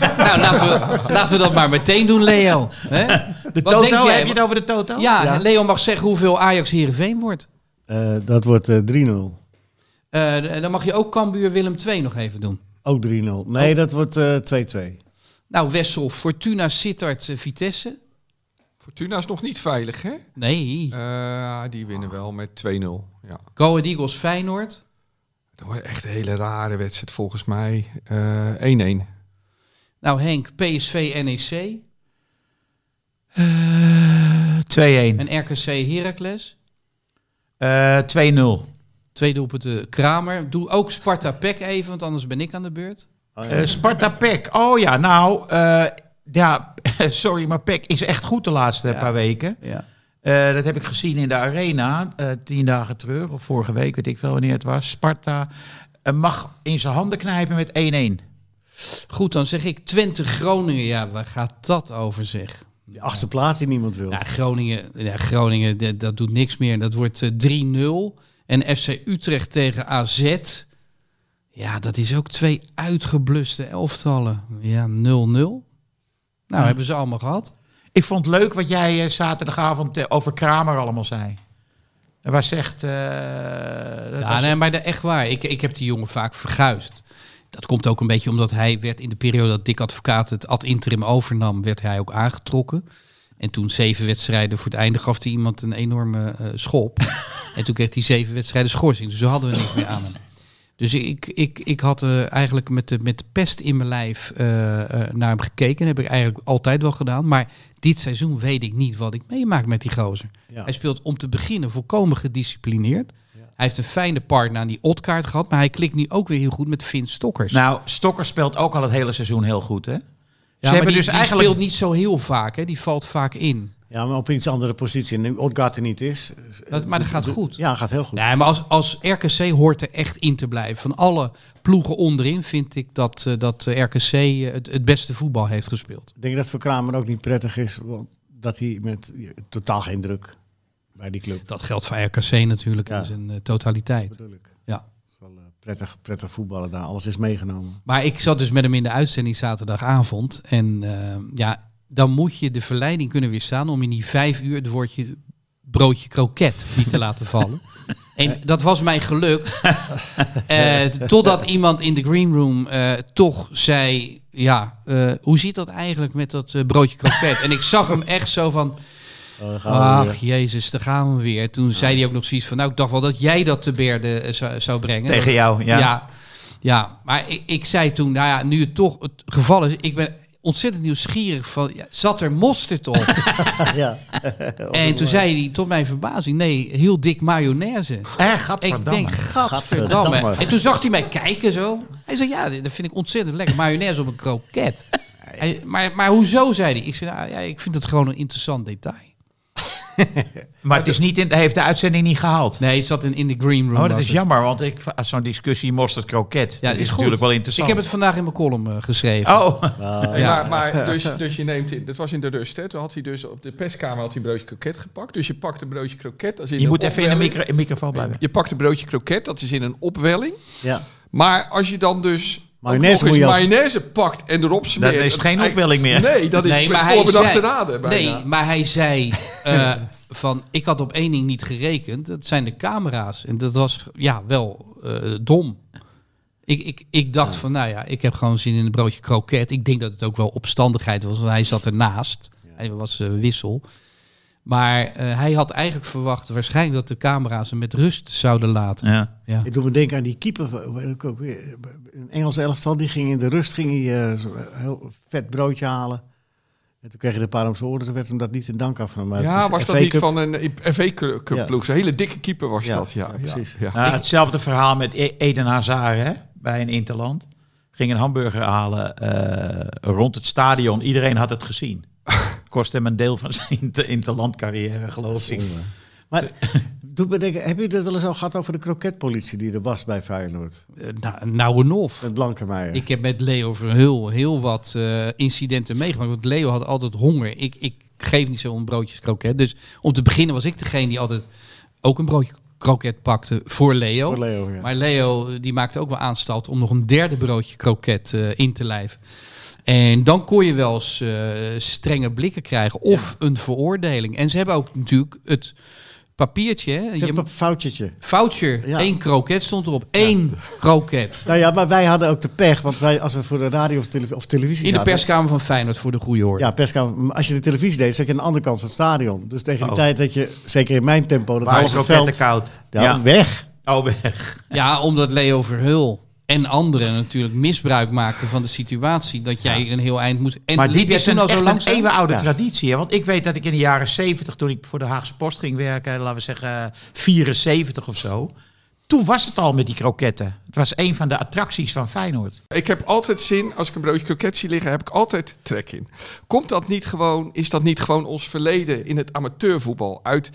[SPEAKER 1] Nou, laten we, laten we dat maar meteen doen, Leo.
[SPEAKER 4] (laughs)
[SPEAKER 1] Hè?
[SPEAKER 4] De
[SPEAKER 1] Wat denk
[SPEAKER 4] Toto,
[SPEAKER 1] jij?
[SPEAKER 4] heb je het over de Toto?
[SPEAKER 1] Ja,
[SPEAKER 2] Ja.
[SPEAKER 1] Leo mag zeggen hoeveel Ajax Heerenveen wordt.
[SPEAKER 2] Eh, dat wordt eh, 3-0.
[SPEAKER 1] Eh, dan mag je ook Cambuur Willem II nog even doen.
[SPEAKER 2] Ook 3-0. Nee,
[SPEAKER 4] Oh.
[SPEAKER 2] dat wordt eh, 2-2.
[SPEAKER 1] Nou, Wessel, Fortuna, Sittard, eh, Vitesse.
[SPEAKER 5] Fortuna is nog niet veilig, hè?
[SPEAKER 1] Nee,
[SPEAKER 5] Eh, die winnen wel met 2-0. Ja.
[SPEAKER 1] Go Ahead Eagles, Feyenoord.
[SPEAKER 5] Dat wordt echt een hele rare wedstrijd volgens mij. Eh, 1-1.
[SPEAKER 1] Nou, Henk, PSV, NEC.
[SPEAKER 4] Eh, 2-1.
[SPEAKER 1] En RKC, Heracles.
[SPEAKER 4] Eh, 2-0.
[SPEAKER 1] Twee doelpunten, Kramer. Doe ook Sparta, PEC even, want anders ben ik aan de beurt.
[SPEAKER 2] Oh,
[SPEAKER 4] Eh, Sparta Pek. Oh ja, nou, eh, ja, (laughs) sorry, maar Pek is echt goed de laatste
[SPEAKER 1] Ja.
[SPEAKER 4] paar weken.
[SPEAKER 1] Ja.
[SPEAKER 4] Eh, dat heb ik gezien in de arena, eh, tien dagen terug, of vorige week, weet ik veel wanneer het was. Sparta eh, mag in zijn handen knijpen met 1-1.
[SPEAKER 1] Goed, dan zeg ik Twente, Groningen. Ja, waar gaat dat over, zeg?
[SPEAKER 2] De achtste plaats die niemand wil.
[SPEAKER 1] Ja, Groningen, ja, Groningen dat, dat doet niks meer. Dat wordt eh, 3-0. En FC Utrecht tegen AZ. Ja, dat is ook twee uitgebluste elftallen. Ja, 0-0. Nou, hebben ze allemaal gehad.
[SPEAKER 4] Ik vond het leuk wat jij eh, zaterdagavond eh, over Kramer allemaal zei. Dat was echt... eh, dat
[SPEAKER 1] Ja,
[SPEAKER 4] was-
[SPEAKER 1] nee, maar de- echt waar. Ik, ik heb die jongen vaak verguisd. Dat komt ook een beetje omdat hij werd in de periode dat Dick Advocaat het ad interim overnam, werd hij ook aangetrokken. En toen zeven wedstrijden voor het einde gaf hij iemand een enorme eh, schop. (laughs) en toen kreeg hij zeven wedstrijden schorsing. Dus zo hadden we niks meer aan hem. Dus ik, ik, ik had eh, eigenlijk met de, met de pest in mijn lijf eh, eh, naar hem gekeken. Dat heb ik eigenlijk altijd wel gedaan. Maar dit seizoen weet ik niet wat ik meemaak met die gozer.
[SPEAKER 2] Ja.
[SPEAKER 1] Hij speelt om te beginnen volkomen gedisciplineerd. Hij heeft een fijne partner aan die Otkaart gehad. Maar hij klikt nu ook weer heel goed met Vin Stokkers.
[SPEAKER 4] Nou, Stokker speelt ook al het hele seizoen heel goed, hè?
[SPEAKER 1] ja,
[SPEAKER 4] hebben
[SPEAKER 1] maar die,
[SPEAKER 4] dus
[SPEAKER 1] die
[SPEAKER 4] eigenlijk-
[SPEAKER 1] speelt niet zo heel vaak. Hè. Die valt vaak in.
[SPEAKER 2] Ja, maar op iets andere positie. En nu Odgaard er niet is.
[SPEAKER 1] Dat, maar dat gaat goed.
[SPEAKER 2] Ja, gaat heel goed.
[SPEAKER 1] Nee, maar als, als RKC hoort er echt in te blijven. Van alle ploegen onderin vind ik dat, eh, dat eh, RKC eh, het, het beste voetbal heeft gespeeld.
[SPEAKER 2] Ik denk dat het voor Kramer ook niet prettig is. Want dat hij met totaal geen druk bij die club.
[SPEAKER 1] Dat geldt voor RKC natuurlijk
[SPEAKER 2] Ja.
[SPEAKER 1] in zijn eh, totaliteit.
[SPEAKER 2] bedoel ik.
[SPEAKER 1] Ja.
[SPEAKER 2] Het is wel eh, prettig, prettig voetballen daar. Alles is meegenomen.
[SPEAKER 1] Maar ik zat dus met hem in de uitzending zaterdagavond. En eh, ja, dan moet je de verleiding kunnen weerstaan om in die vijf uur het woordje broodje kroket niet te laten
[SPEAKER 2] (laughs)
[SPEAKER 1] vallen. En dat was mij gelukt. Eh, totdat iemand in de greenroom eh, toch zei... Ja, eh, hoe zit dat eigenlijk met dat eh, broodje kroket? En ik zag hem echt zo van...
[SPEAKER 2] Oh, daar gaan we
[SPEAKER 1] Ach,
[SPEAKER 4] Ah.
[SPEAKER 2] weer.
[SPEAKER 1] jezus, daar gaan we weer. Toen zei hij ook nog zoiets van... Nou, ik dacht wel dat jij dat te berde eh, zou, zou brengen.
[SPEAKER 4] Tegen jou, Oh, ja.
[SPEAKER 1] Ja. ja. maar ik, ik zei toen, nou ja, nu het toch het geval is, ik ben ontzettend nieuwsgierig van, ja, zat er mosterd
[SPEAKER 4] (laughs)
[SPEAKER 1] op?
[SPEAKER 2] (laughs) ja.
[SPEAKER 1] en toen zei hij, tot mijn verbazing, nee, heel dik mayonaise.
[SPEAKER 4] Hè,
[SPEAKER 1] Ik
[SPEAKER 4] gadverdamme.
[SPEAKER 1] denk, gadverdamme.
[SPEAKER 2] Gadverdamme.
[SPEAKER 1] En toen zag hij mij kijken zo. Hij zei, ja, dat vind ik ontzettend lekker, mayonaise op een
[SPEAKER 4] (laughs)
[SPEAKER 1] kroket. Hij- maar, maar hoezo, zei hij. Ik zei, nou, ja, ik vind het gewoon een interessant detail.
[SPEAKER 4] Maar het is niet in, hij heeft de uitzending niet gehaald.
[SPEAKER 1] Nee, het zat in, in de green room.
[SPEAKER 4] Oh, dat
[SPEAKER 1] was
[SPEAKER 4] is
[SPEAKER 1] het.
[SPEAKER 4] jammer, want ik v- zo'n discussie mosterd kroket.
[SPEAKER 1] Ja,
[SPEAKER 4] dat is
[SPEAKER 1] goed.
[SPEAKER 4] natuurlijk wel interessant.
[SPEAKER 1] Ik heb het vandaag in mijn column eh, geschreven.
[SPEAKER 4] Oh,
[SPEAKER 5] Nee,
[SPEAKER 4] (laughs)
[SPEAKER 5] Maar, maar dus, dus je neemt in, dat was in de rust, hè? Toen had hij dus op de perskamer had hij een broodje kroket gepakt. Dus je pakt een broodje kroket. Dat is in
[SPEAKER 4] je
[SPEAKER 5] een
[SPEAKER 4] moet even in de
[SPEAKER 5] opwelling.
[SPEAKER 4] micro, microfoon blijven.
[SPEAKER 5] Je pakt een broodje kroket, dat is in een opwelling.
[SPEAKER 2] Ja.
[SPEAKER 5] Maar als je dan dus ook
[SPEAKER 2] Mayonaise
[SPEAKER 5] nog eens
[SPEAKER 2] moet je af-
[SPEAKER 5] mayonaise pakt en erop smeert...
[SPEAKER 4] is het
[SPEAKER 5] dat-
[SPEAKER 4] geen
[SPEAKER 5] hij-
[SPEAKER 4] opwelling meer.
[SPEAKER 5] Nee, dat is
[SPEAKER 1] Nee, maar hij
[SPEAKER 5] voorbedachte
[SPEAKER 1] zei-
[SPEAKER 5] raden bijna.
[SPEAKER 1] Nee, maar hij
[SPEAKER 5] (laughs)
[SPEAKER 1] zei eh, van ik had op één ding niet gerekend. Dat zijn de camera's. En dat was ja wel eh, dom. Ik, ik, ik dacht van nou ja, ik heb gewoon zin in een broodje kroket. Ik denk dat het ook wel opstandigheid was, want hij zat ernaast. Hij was eh, wissel. Maar eh, hij had eigenlijk verwacht waarschijnlijk dat de camera's hem met rust zouden laten.
[SPEAKER 4] Ja.
[SPEAKER 1] Ja.
[SPEAKER 2] Ik doe me denken aan die keeper. van- hoe heet het ook weer? Een Engelse elftal, die ging in de rust ging hij, eh, zo'n heel vet broodje halen. En toen kreeg hij een paar om zijn oren. Toen werd hem dat niet in dank afgenomen. Maar het
[SPEAKER 5] ja,
[SPEAKER 2] is
[SPEAKER 5] was dat
[SPEAKER 2] FA
[SPEAKER 5] niet
[SPEAKER 2] Cup.
[SPEAKER 5] van een FV-ploeg?
[SPEAKER 2] Ja.
[SPEAKER 5] Een hele dikke keeper was
[SPEAKER 2] Ja,
[SPEAKER 5] dat, ja.
[SPEAKER 2] ja,
[SPEAKER 5] ja,
[SPEAKER 2] precies.
[SPEAKER 5] ja.
[SPEAKER 4] Nou, hetzelfde verhaal met E- Eden Hazard hè, bij een Interland. Ging een hamburger halen eh, rond het stadion. Iedereen had het
[SPEAKER 2] (laughs)
[SPEAKER 4] gezien. Kost hem een deel van zijn inter- Interland-carrière, geloof ik.
[SPEAKER 2] eh. Maar doet me denken, heb je het wel eens al gehad over de kroketpolitie die er was bij Feyenoord?
[SPEAKER 1] Eh, nou, nou en
[SPEAKER 5] Eh,
[SPEAKER 1] of.
[SPEAKER 2] Met Blankenmeijer.
[SPEAKER 1] Ik heb met Leo Verhul heel wat eh, incidenten meegemaakt. Want Leo had altijd honger. Ik, ik geef niet zo om broodjes kroket. Dus om te beginnen was ik degene die altijd ook een broodje kroket pakte voor Leo.
[SPEAKER 2] Voor Leo, ja.
[SPEAKER 1] Maar Leo eh, die maakte ook wel aanstalt om nog een derde broodje kroket eh, in te lijven. En dan kon je wel eens eh, strenge blikken krijgen. Of een veroordeling. En ze hebben ook natuurlijk het papiertje. Hè?
[SPEAKER 2] Je
[SPEAKER 1] Je
[SPEAKER 2] hebt een foutje.
[SPEAKER 1] voucher.
[SPEAKER 2] Ja.
[SPEAKER 1] Één kroket stond erop. Eén kroket.
[SPEAKER 2] Nou ja, maar wij hadden ook de pech, want wij, als we voor de radio of, televi- of televisie
[SPEAKER 1] In de
[SPEAKER 2] zaten-
[SPEAKER 1] perskamer van Feyenoord voor de goede orde.
[SPEAKER 2] Ja, perskamer. Als je de televisie deed, zat je aan de andere kant van het stadion. Dus tegen de
[SPEAKER 4] Oh.
[SPEAKER 2] tijd dat je, zeker in mijn tempo, dat
[SPEAKER 4] Waar is
[SPEAKER 2] halve
[SPEAKER 4] kroketten
[SPEAKER 2] veld...
[SPEAKER 4] koud?
[SPEAKER 2] Ja, weg.
[SPEAKER 4] Oh, weg.
[SPEAKER 1] Ja, omdat Leo Verhul en anderen natuurlijk misbruik maakten van de situatie dat jij een heel eind moest. En
[SPEAKER 4] maar
[SPEAKER 1] liep
[SPEAKER 4] dit
[SPEAKER 1] jij
[SPEAKER 4] is een,
[SPEAKER 1] toen al zo
[SPEAKER 4] echt
[SPEAKER 1] lang
[SPEAKER 4] een eeuwenoude
[SPEAKER 2] Ja.
[SPEAKER 4] traditie. Hè? Want ik weet dat ik in de jaren 70, toen ik voor de Haagse Post ging werken, laten we zeggen 74 of zo. Toen was het al met die kroketten. Het was een van de attracties van Feyenoord.
[SPEAKER 5] Ik heb altijd zin, als ik een broodje kroket zie liggen, heb ik altijd trek in. Komt dat niet gewoon, is dat niet gewoon ons verleden in het amateurvoetbal? Uit,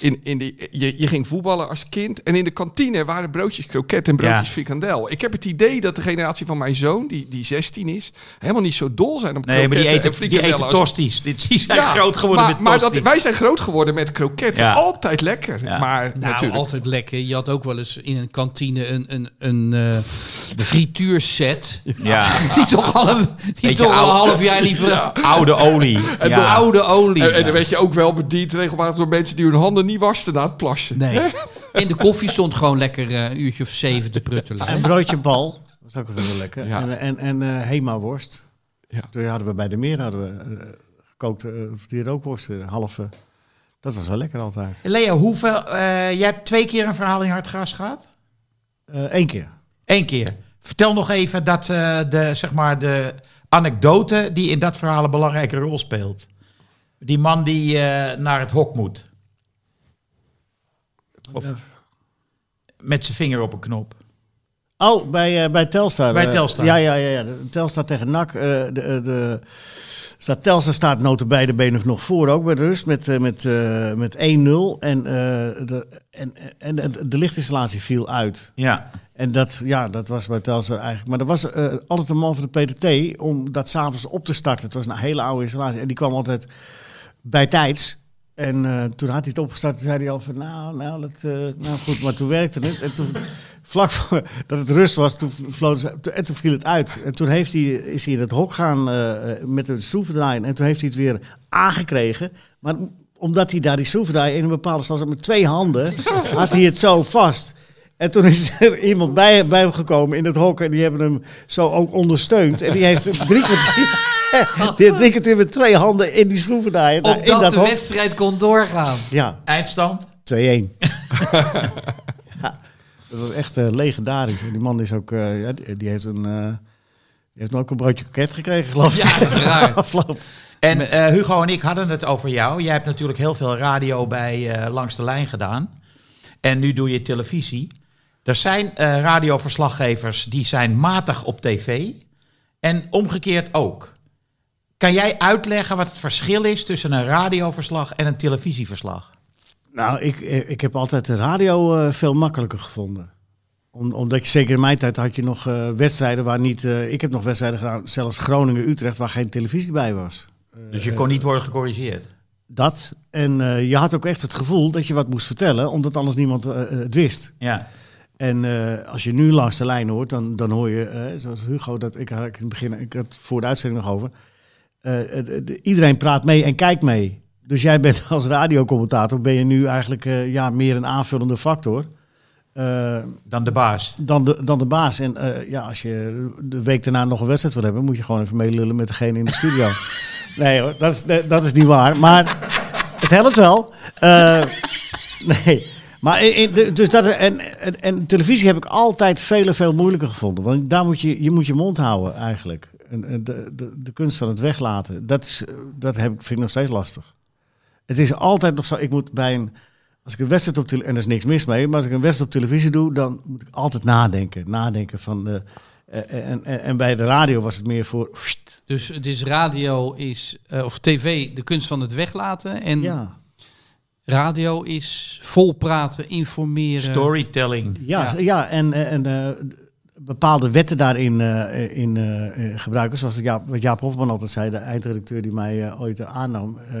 [SPEAKER 5] in, in die, je, je ging voetballen als kind en in de kantine waren broodjes kroket en broodjes
[SPEAKER 4] Ja.
[SPEAKER 5] frikandel. Ik heb het idee dat de generatie van mijn zoon, die, die 16 is, helemaal niet zo dol zijn op
[SPEAKER 4] Nee, maar die
[SPEAKER 5] kroketten
[SPEAKER 4] eten, die
[SPEAKER 5] en frikandellen
[SPEAKER 4] eten
[SPEAKER 5] als-
[SPEAKER 4] tosties. Dit- Die zijn
[SPEAKER 5] Ja,
[SPEAKER 4] groot geworden
[SPEAKER 5] maar,
[SPEAKER 4] met
[SPEAKER 5] maar
[SPEAKER 4] tosties.
[SPEAKER 5] dat, wij zijn groot geworden met kroketten.
[SPEAKER 4] Ja.
[SPEAKER 5] Altijd lekker,
[SPEAKER 4] Ja.
[SPEAKER 5] maar
[SPEAKER 1] Nou,
[SPEAKER 5] natuurlijk.
[SPEAKER 1] altijd lekker. Je had ook wel eens in een kantine een, een, een eh, frituurset.
[SPEAKER 4] Ja,
[SPEAKER 5] (laughs)
[SPEAKER 1] Die toch al een, die
[SPEAKER 4] Beetje
[SPEAKER 1] toch al een
[SPEAKER 4] oude-
[SPEAKER 1] half jaar liever
[SPEAKER 4] oude olie.
[SPEAKER 1] de
[SPEAKER 4] Ja. Eh,
[SPEAKER 1] oude olie.
[SPEAKER 5] En, en dan werd je ook wel bediend regelmatig door mensen die hun handen niet wasten na het plassen.
[SPEAKER 1] Nee. En de koffie stond gewoon lekker eh, een uurtje of zeven te pruttelen.
[SPEAKER 2] Een broodje bal. Dat is ook altijd wel lekker.
[SPEAKER 5] Ja.
[SPEAKER 2] En, en, en eh, Hema-worst.
[SPEAKER 5] Ja.
[SPEAKER 2] Toen hadden we bij de meer hadden we, eh, gekookt, eh, of die rookworst, eh, halve. Dat was wel lekker altijd.
[SPEAKER 4] Leo, hoeveel, eh, jij hebt twee keer een verhaal in hard gras gehad?
[SPEAKER 2] Eén Eh, keer.
[SPEAKER 4] Eén keer. Vertel nog even dat, eh, de, zeg maar de anekdote die in dat verhaal een belangrijke rol speelt. Die man die eh, naar het hok moet. Of, Met zijn vinger op een knop.
[SPEAKER 2] Oh, bij, eh, bij Telstar.
[SPEAKER 4] Bij
[SPEAKER 2] Eh,
[SPEAKER 4] Telstar.
[SPEAKER 2] ja, ja, ja, ja. De- Telstar tegen NAC. eh, de, eh, de, staat, Telstar staat notabene benen nog voor ook bij de rust met, eh, met, eh, met 1-0. En, eh, de, en, en de, de lichtinstallatie viel uit.
[SPEAKER 4] Ja.
[SPEAKER 2] En dat, ja, dat was bij Telstar eigenlijk. Maar er was eh, altijd een man van de PTT om dat s'avonds op te starten. Het was een hele oude installatie. En die kwam altijd bij tijds. En eh, toen had hij het opgestart. Toen zei hij al van, nou, nou, dat, eh, nou goed. Maar toen werkte het. En toen, vlak voor dat het rust was, toen, vloot ze- toen- en toen viel het uit. En toen heeft hij, is hij in het hok gaan eh, eh, met een schroevendraaier. En toen heeft hij het weer aangekregen. Maar omdat hij daar die schroevendraaier in een bepaalde stand zat met twee handen, had hij het zo vast. En toen is er iemand bij, bij hem gekomen in het hok en die hebben hem zo ook ondersteund. En die heeft drie kwartier... Die heeft drie kwartier met twee handen in die schroevendraaier. daar- in
[SPEAKER 1] Opdat
[SPEAKER 2] dat
[SPEAKER 1] de
[SPEAKER 2] hok.
[SPEAKER 1] wedstrijd kon doorgaan.
[SPEAKER 2] Ja,
[SPEAKER 4] Eindstand?
[SPEAKER 2] 2-1. Ja, dat was echt eh, legendarisch. En die man is ook, eh, ja, die, die heeft een, eh, die heeft ook een broodje koket gekregen, geloof ik.
[SPEAKER 1] Ja,
[SPEAKER 2] (laughs)
[SPEAKER 1] uiteraard.
[SPEAKER 2] Afloop.
[SPEAKER 4] En eh, Hugo en ik hadden het over jou. Jij hebt natuurlijk heel veel radio bij eh, Langs de Lijn gedaan. En nu doe je televisie. Er zijn eh, radioverslaggevers die zijn matig op tv. En omgekeerd ook. Kan jij uitleggen wat het verschil is tussen een radioverslag en een televisieverslag?
[SPEAKER 2] Nou, ik, ik heb altijd de radio eh, veel makkelijker gevonden. Om, omdat ik, zeker in mijn tijd had je nog eh, wedstrijden waar niet... eh, ik heb nog wedstrijden gedaan, zelfs Groningen-Utrecht, waar geen televisie bij was.
[SPEAKER 4] Dus je kon niet worden gecorrigeerd.
[SPEAKER 2] Dat. En eh, je had ook echt het gevoel dat je wat moest vertellen, omdat anders niemand eh, eh, het wist.
[SPEAKER 4] Ja.
[SPEAKER 2] En eh, als je nu langs de lijn hoort, dan, dan hoor je, eh, zoals Hugo, dat ik, had- ik, in het begin, ik had het voor de uitzending nog over. eh, eh, de- iedereen praat mee en kijkt mee. Dus jij bent als radiocommentator, ben je nu eigenlijk eh, ja, meer een aanvullende factor eh,
[SPEAKER 4] Dan de baas.
[SPEAKER 2] dan, de, dan de baas. En eh, ja, als je de week daarna nog een wedstrijd wil hebben, moet je gewoon even meelullen met degene in de studio. nee hoor, dat is, nee, dat is niet waar. Maar het helpt wel. Eh, nee. Maar in- in- de- dus dat, en, en, en televisie heb ik altijd veel, veel moeilijker gevonden. Want daar moet je je, moet je mond houden eigenlijk. En, en de, de, de kunst van het weglaten, dat, is, eh, dat heb, ik- vind ik nog steeds lastig. Het is altijd nog zo, ik moet bij een... Als ik een wedstrijd op televisie, en er is niks mis mee, maar als ik een wedstrijd op televisie doe, dan moet ik altijd nadenken. Nadenken van... eh, eh, en, en, en bij de radio was het meer voor... pssst,
[SPEAKER 1] Dus het is radio is, eh, of tv, de kunst van het weglaten. En
[SPEAKER 2] ja,
[SPEAKER 1] radio is volpraten, informeren.
[SPEAKER 4] Storytelling.
[SPEAKER 2] Ja,
[SPEAKER 1] Ja.
[SPEAKER 2] z- ja. en, en eh, bepaalde wetten daarin eh, in, eh, eh, gebruiken. Zoals Jaap, wat Jaap Hofman altijd zei, de eindredacteur die mij eh, ooit aannam. eh,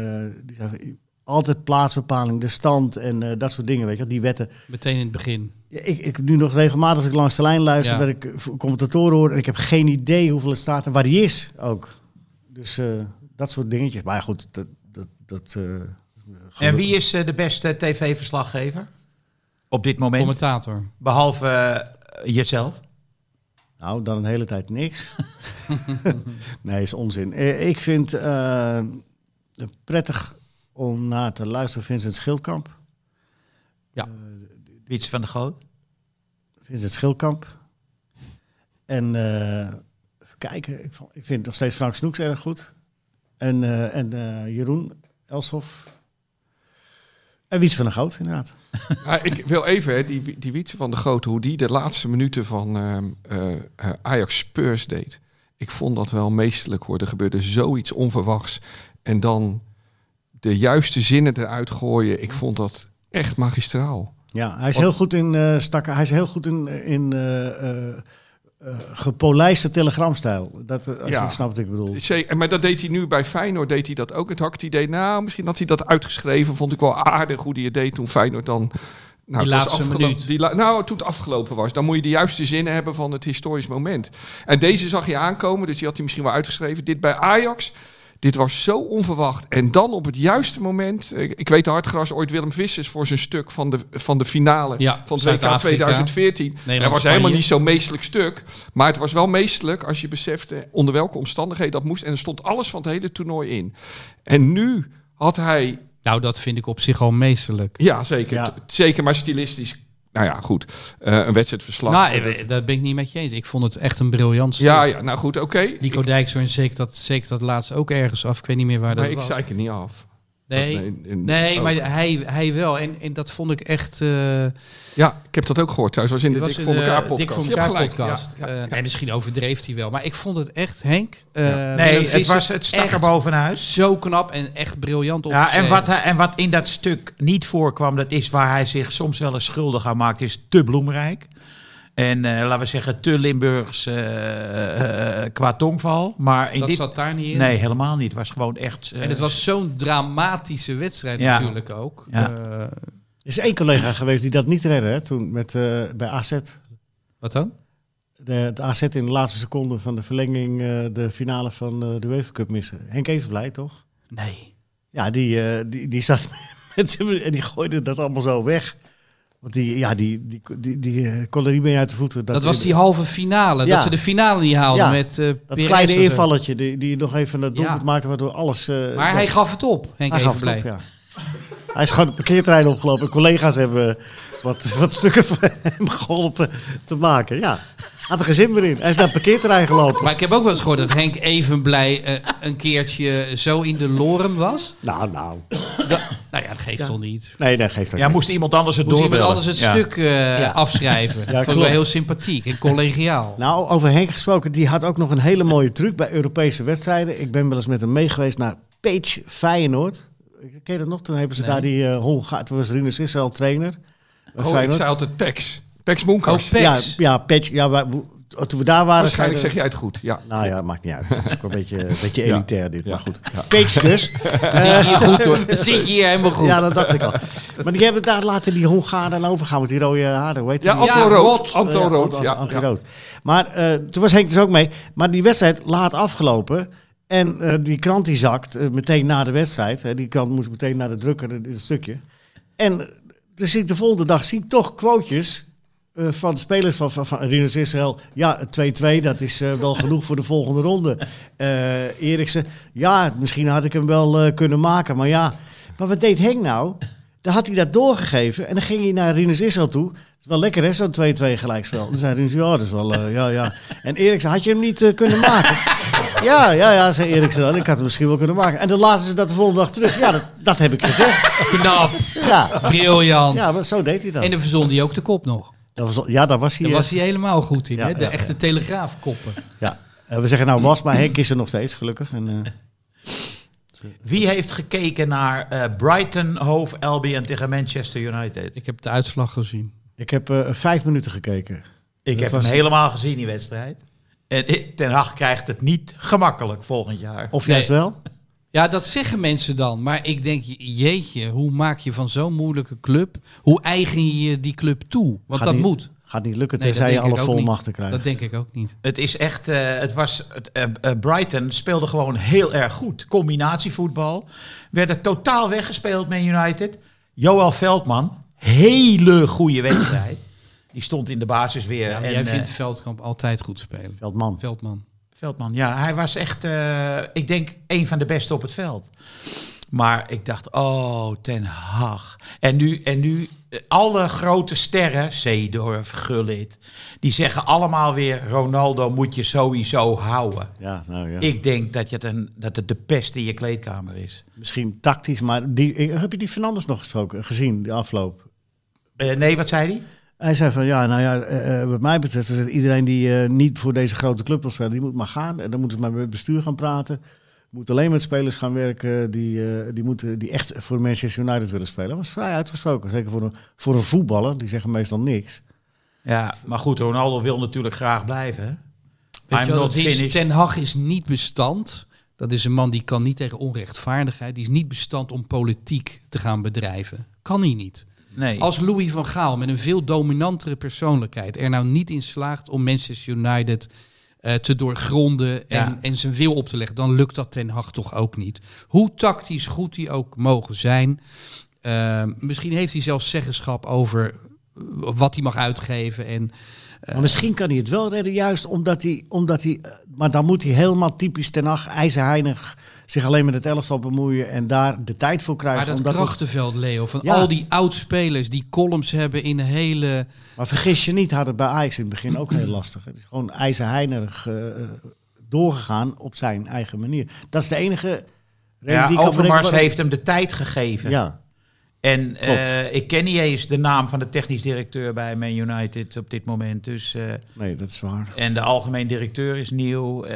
[SPEAKER 2] die zei, van, altijd plaatsbepaling, de stand en eh, dat soort dingen, weet je wel, die wetten.
[SPEAKER 1] Meteen in het begin.
[SPEAKER 2] Ja, ik, ik nu nog regelmatig als ik langs de lijn luister,
[SPEAKER 1] Ja.
[SPEAKER 2] dat ik v- commentatoren hoor en ik heb geen idee hoeveel het staat en waar die is ook. Dus eh, dat soort dingetjes. Maar ja, goed, dat... dat, dat eh,
[SPEAKER 4] En wie is eh, de beste tv-verslaggever op dit moment?
[SPEAKER 1] Commentator.
[SPEAKER 4] Behalve eh, jezelf.
[SPEAKER 2] Nou, dan een hele tijd niks. nee, is onzin. Eh, Ik vind eh, prettig om naar te luisteren Vincent Schildkamp.
[SPEAKER 4] Wiets van de Goot.
[SPEAKER 2] Vincent Schildkamp. En eh, even kijken, ik, vond- ik vind nog steeds Frank Snoeks erg goed. En, eh, en eh, Jeroen Elshoff. En Wies van der Goud, inderdaad.
[SPEAKER 5] (laughs) Maar Nou, ik wil even, hè, die, die Wietse van de Grote, hoe die de laatste minuten van ehm, eh, eh, Ajax Spurs deed. Ik vond dat wel meestelijk hoor. Er gebeurde zoiets onverwachts. En dan de juiste zinnen eruit gooien. Ik vond dat echt magistraal.
[SPEAKER 2] Ja, hij is heel goed in eh, stakken. Hij is heel goed in, in eh, eh, eh, gepolijste telegramstijl. Dat, eh, als
[SPEAKER 5] Ja.
[SPEAKER 2] je snapt wat ik bedoel.
[SPEAKER 5] Zeker, maar dat deed hij nu bij Feyenoord, deed hij dat ook. Het hakt idee, nou, misschien had hij dat uitgeschreven. Vond ik wel aardig hoe hij het deed toen Feyenoord dan... Nou,
[SPEAKER 1] Die
[SPEAKER 5] het was
[SPEAKER 1] laatste
[SPEAKER 5] afgelo-
[SPEAKER 1] minuut.
[SPEAKER 5] die la- nou, toen het afgelopen was. Dan moet je de juiste zinnen hebben van het historisch moment. En deze zag je aankomen, dus die had hij misschien wel uitgeschreven. Dit bij Ajax, dit was zo onverwacht. En dan op het juiste moment... eh, Ik weet de hartgras ooit Willem Vissers voor zijn stuk van de, van de finale
[SPEAKER 1] Ja,
[SPEAKER 5] van het WK
[SPEAKER 1] Zuid-Afrika.
[SPEAKER 5] 2014.
[SPEAKER 1] Nederland,
[SPEAKER 5] dat was
[SPEAKER 1] Spanje.
[SPEAKER 5] helemaal niet zo'n meestelijk stuk. Maar het was wel meestelijk als je besefte onder welke omstandigheden dat moest. En er stond alles van het hele toernooi in. En nu had hij,
[SPEAKER 1] Nou, dat vind ik op zich al meesterlijk.
[SPEAKER 5] ja zeker,
[SPEAKER 2] Ja.
[SPEAKER 5] t- zeker maar stilistisch, nou ja goed, eh, een wedstrijdverslag.
[SPEAKER 1] Nou, eh, eh, dat ben ik niet met je eens. Ik vond het echt een briljant stuk.
[SPEAKER 5] ja, ja, nou goed, oké. Ik-
[SPEAKER 1] Nico Dijkshoorn zeker dat, zeker dat laatst ook ergens af. Ik weet niet meer waar
[SPEAKER 5] Maar
[SPEAKER 1] dat
[SPEAKER 5] ik
[SPEAKER 1] was.
[SPEAKER 5] zei het niet af.
[SPEAKER 1] nee,
[SPEAKER 5] Dat-
[SPEAKER 1] nee,
[SPEAKER 5] in- ook.
[SPEAKER 1] maar hij, hij wel. En, en dat vond ik echt... eh,
[SPEAKER 5] Ja, ik heb dat ook gehoord thuis. was in de
[SPEAKER 1] Het
[SPEAKER 5] Dik
[SPEAKER 1] was
[SPEAKER 5] voor
[SPEAKER 1] een, eh,
[SPEAKER 5] elkaar podcast.
[SPEAKER 1] Dik voor
[SPEAKER 5] Je hebt
[SPEAKER 1] elkaar
[SPEAKER 5] gelijk,
[SPEAKER 1] podcast.
[SPEAKER 5] ja, ja.
[SPEAKER 1] Eh, nee, misschien overdreef hij wel. Maar ik vond het echt, Henk. eh, Willem
[SPEAKER 4] Nee, het,
[SPEAKER 1] Visser
[SPEAKER 4] was, het stak
[SPEAKER 1] echt
[SPEAKER 4] er bovenuit.
[SPEAKER 1] Zo knap en echt briljant op.
[SPEAKER 4] Ja, en, wat hij, en wat in dat stuk niet voorkwam, dat is waar hij zich soms wel eens schuldig aan maakt, is te bloemrijk. En eh, laten we zeggen, te Limburgs eh, eh, qua tongval. Maar in
[SPEAKER 1] dat
[SPEAKER 4] dit.
[SPEAKER 1] zat daar niet in.
[SPEAKER 4] Nee, helemaal niet. Het was gewoon echt. eh,
[SPEAKER 1] En het was zo'n dramatische wedstrijd
[SPEAKER 4] Ja.
[SPEAKER 1] natuurlijk ook.
[SPEAKER 4] Ja.
[SPEAKER 1] Eh,
[SPEAKER 2] Er is één collega geweest die dat niet redde hè, toen met, eh, bij AZ.
[SPEAKER 1] wat dan?
[SPEAKER 2] De, het AZ in de laatste seconde van de verlenging eh, de finale van eh, de UEFA Cup missen. Henk Evenblij, toch?
[SPEAKER 1] Nee.
[SPEAKER 2] Ja, die, eh, die, die zat (laughs) met z'n- en die gooide dat allemaal zo weg. Want die, ja, die, die, die, die, eh, kon er niet mee uit de voeten.
[SPEAKER 1] Dat, was die halve finale.
[SPEAKER 2] Ja.
[SPEAKER 1] Dat ze de finale niet haalden
[SPEAKER 2] Ja.
[SPEAKER 1] met eh
[SPEAKER 2] dat
[SPEAKER 1] Perez
[SPEAKER 2] kleine
[SPEAKER 1] en zo.
[SPEAKER 2] invalletje die, die nog even dat doelpunt
[SPEAKER 1] Ja.
[SPEAKER 2] maakte waardoor alles... eh,
[SPEAKER 1] Maar
[SPEAKER 2] ja,
[SPEAKER 1] hij gaf het op, Henk
[SPEAKER 2] hij gaf het
[SPEAKER 1] Evenblij.
[SPEAKER 2] op, ja. Hij is gewoon de parkeertrein opgelopen. Collega's hebben eh, wat, (laughs) wat stukken van hem geholpen te maken. Ja, had er geen zin meer in. Hij is naar de parkeertrein gelopen.
[SPEAKER 1] Maar ik heb ook wel eens gehoord dat Henk Evenblij eh, een keertje zo in de lorem was.
[SPEAKER 2] Nou, nou.
[SPEAKER 1] Da- Nou ja, dat geeft
[SPEAKER 2] Ja.
[SPEAKER 1] toch niet.
[SPEAKER 2] Nee, dat geeft ook
[SPEAKER 4] Ja,
[SPEAKER 2] niet.
[SPEAKER 4] moest iemand anders het
[SPEAKER 1] Moet iemand
[SPEAKER 4] doorbellen.
[SPEAKER 1] anders het
[SPEAKER 4] Ja.
[SPEAKER 1] stuk eh, (laughs) afschrijven. Dat Vond ik wel
[SPEAKER 2] klopt.
[SPEAKER 1] heel sympathiek en collegiaal.
[SPEAKER 2] Nou, over Henk gesproken, die had ook nog een hele mooie truc bij Europese wedstrijden. Ik ben wel eens met hem mee geweest naar Page Feyenoord. Ken je dat nog? Toen hebben ze
[SPEAKER 1] Nee.
[SPEAKER 2] daar die eh Hongaar, toen was Rinus Israël trainer. bij
[SPEAKER 5] Oh, ik
[SPEAKER 2] Feyenoord.
[SPEAKER 5] zei altijd Pex. Pex Moenkers.
[SPEAKER 1] Oh, Pex.
[SPEAKER 2] Ja, ja, Page. Ja, waar- hoe- toen we daar waren...
[SPEAKER 5] Waarschijnlijk zeg
[SPEAKER 2] zeiden-
[SPEAKER 5] jij het goed. Ja.
[SPEAKER 2] Nou ja, maakt niet uit. Het is ook een beetje, een beetje
[SPEAKER 5] Ja.
[SPEAKER 2] elitair dit, maar
[SPEAKER 5] Ja.
[SPEAKER 2] goed. Page
[SPEAKER 5] (laughs)
[SPEAKER 2] dus.
[SPEAKER 1] Dan zit je hier goed hoor. Dan zit je hier helemaal goed.
[SPEAKER 2] Ja, dat dacht ik al. Maar die hebben daar laten die Hongaren aan overgaan met die rode haren. Hoe heet
[SPEAKER 5] Ja,
[SPEAKER 2] die?
[SPEAKER 5] Anton
[SPEAKER 1] Ja,
[SPEAKER 5] Rood.
[SPEAKER 1] Rood.
[SPEAKER 5] Anton
[SPEAKER 2] Oh ja,
[SPEAKER 5] Rood.
[SPEAKER 2] Ant-
[SPEAKER 5] Ja,
[SPEAKER 2] Anton
[SPEAKER 5] ja.
[SPEAKER 2] Rood. Maar eh, toen was Henk dus ook mee. Maar die wedstrijd laat afgelopen. En eh, die krant die zakt eh, meteen na de wedstrijd. Hè, die krant moest meteen naar de drukker, dit dit stukje. En eh, dus zie ik de volgende dag zie ik toch quotejes eh, van spelers van, van, van Rinus Israël. Ja, 2-2, dat is eh, wel genoeg voor de volgende ronde. Eh Eriksen, ja, misschien had ik hem wel eh, kunnen maken. Maar ja, maar wat deed Henk nou? Dan had hij dat doorgegeven en dan ging hij naar Rinus Israël toe. Het is wel lekker hè, zo'n 2-2 gelijkspel. Dan zei Rinus, ja, dat is wel, eh, ja, ja. En Eriksen, had je hem niet eh, kunnen
[SPEAKER 1] (laughs)
[SPEAKER 2] maken? ja, ja, ja, zei Eriksen dan. Ik had hem misschien wel kunnen maken. En dan laten ze dat de volgende dag terug. Ja, dat, dat heb ik gezegd.
[SPEAKER 1] Knap.
[SPEAKER 2] Ja,
[SPEAKER 1] Briljant.
[SPEAKER 2] ja maar zo deed hij dat.
[SPEAKER 1] en dan verzon hij ook de kop nog.
[SPEAKER 2] dat was, ja, dat was hij.
[SPEAKER 1] Daar
[SPEAKER 2] eh,
[SPEAKER 1] was hij helemaal goed in.
[SPEAKER 2] Ja,
[SPEAKER 1] hè? De
[SPEAKER 2] ja,
[SPEAKER 1] echte telegraafkoppen.
[SPEAKER 2] Ja. Eh, we zeggen nou was, maar Henk is er nog steeds, gelukkig. En, eh,
[SPEAKER 4] Wie heeft gekeken naar eh Brighton, Hove, Albion tegen Manchester United?
[SPEAKER 1] Ik heb de uitslag gezien.
[SPEAKER 2] ik heb eh, vijf minuten gekeken.
[SPEAKER 4] Ik heb hem
[SPEAKER 2] was-
[SPEAKER 4] helemaal gezien, die wedstrijd. En eh, Ten Hag krijgt het niet gemakkelijk volgend jaar.
[SPEAKER 2] Of juist
[SPEAKER 1] Nee.
[SPEAKER 2] wel?
[SPEAKER 1] Ja, dat zeggen mensen dan. Maar ik denk, jeetje, hoe maak je van zo'n moeilijke club... hoe eigen je die club toe? Want
[SPEAKER 2] Gaat
[SPEAKER 1] dat
[SPEAKER 2] niet-
[SPEAKER 1] moet.
[SPEAKER 2] Gaat niet lukken,
[SPEAKER 1] Nee, dat
[SPEAKER 2] tenzij
[SPEAKER 1] denk
[SPEAKER 2] je alle
[SPEAKER 1] ik ook niet.
[SPEAKER 2] volmachten krijgt.
[SPEAKER 1] Dat denk ik ook niet.
[SPEAKER 4] Het is echt, eh, het was, het, eh, eh, Brighton speelde gewoon heel erg goed. Combinatievoetbal. Werd het totaal weggespeeld met United. Joël Veldman, hele goede wedstrijd. Die stond in de basis weer.
[SPEAKER 1] Ja, maar
[SPEAKER 4] en,
[SPEAKER 1] jij vindt
[SPEAKER 4] eh,
[SPEAKER 1] Veldkamp altijd goed spelen.
[SPEAKER 2] Veldman.
[SPEAKER 1] Veldman.
[SPEAKER 4] Veldman, ja, hij was echt, eh, ik denk, een van de beste op het veld. Maar ik dacht, oh, Ten Hag. En nu, en nu eh, alle grote sterren, Seedorf, Gullit, die zeggen allemaal weer, Ronaldo moet je sowieso houden.
[SPEAKER 2] Ja, nou ja.
[SPEAKER 4] Ik denk dat, je het een, dat het de pest in je kleedkamer is.
[SPEAKER 2] Misschien tactisch, maar die, ik- heb je die Fernandes nog gesproken, gezien, de afloop?
[SPEAKER 4] Eh, nee, wat zei hij?
[SPEAKER 2] Hij zei van, ja, nou ja, eh, eh, wat mij betreft is het iedereen die eh, niet voor deze grote club wil spelen, die moet maar gaan. En dan moeten ze maar met het bestuur gaan praten. Moet alleen met spelers gaan werken die, eh, die, moeten, die echt voor Manchester United willen spelen. Dat was vrij uitgesproken, zeker voor een, voor een voetballer, die zeggen meestal niks.
[SPEAKER 4] Ja, maar goed, Ronaldo wil natuurlijk graag blijven. hè?
[SPEAKER 1] Weet
[SPEAKER 4] I'm
[SPEAKER 1] je wel,
[SPEAKER 4] not
[SPEAKER 1] dat is-
[SPEAKER 4] finished.
[SPEAKER 1] Ten Hag is niet bestand. Dat is een man die kan niet tegen onrechtvaardigheid. Die is niet bestand om politiek te gaan bedrijven. Kan hij niet.
[SPEAKER 4] Nee.
[SPEAKER 1] Als Louis van Gaal met een veel dominantere persoonlijkheid er nou niet in slaagt om Manchester United eh, te doorgronden en,
[SPEAKER 4] Ja.
[SPEAKER 1] en zijn wil op te leggen, dan lukt dat Ten Hag toch ook niet. Hoe tactisch goed die ook mogen zijn. eh, misschien heeft hij zelfs zeggenschap over eh, wat hij mag uitgeven. En Eh.
[SPEAKER 2] Maar misschien kan hij het wel redden, juist omdat hij, omdat hij... eh, Maar dan moet hij helemaal typisch ten acht ijzerheinig zich alleen met het elftal bemoeien en daar de tijd voor krijgen.
[SPEAKER 1] Maar dat
[SPEAKER 2] omdat
[SPEAKER 1] krachtenveld, Leo, van
[SPEAKER 2] Ja.
[SPEAKER 1] al die oud-spelers die columns hebben in hele...
[SPEAKER 2] maar vergis je niet, had het bij Ajax in het begin ook heel lastig. Het is gewoon ijzerheinig eh, doorgegaan op zijn eigen manier. Dat is de enige reden
[SPEAKER 4] ja,
[SPEAKER 2] die ik kan
[SPEAKER 4] Overmars
[SPEAKER 2] bedenken waarom-
[SPEAKER 4] heeft hem de tijd gegeven.
[SPEAKER 2] Ja,
[SPEAKER 4] En
[SPEAKER 2] Klopt.
[SPEAKER 4] eh, ik ken niet eens de naam van de technisch directeur bij Man United op dit moment. Dus, eh,
[SPEAKER 2] nee, dat is waar.
[SPEAKER 4] en de algemeen directeur is nieuw. eh,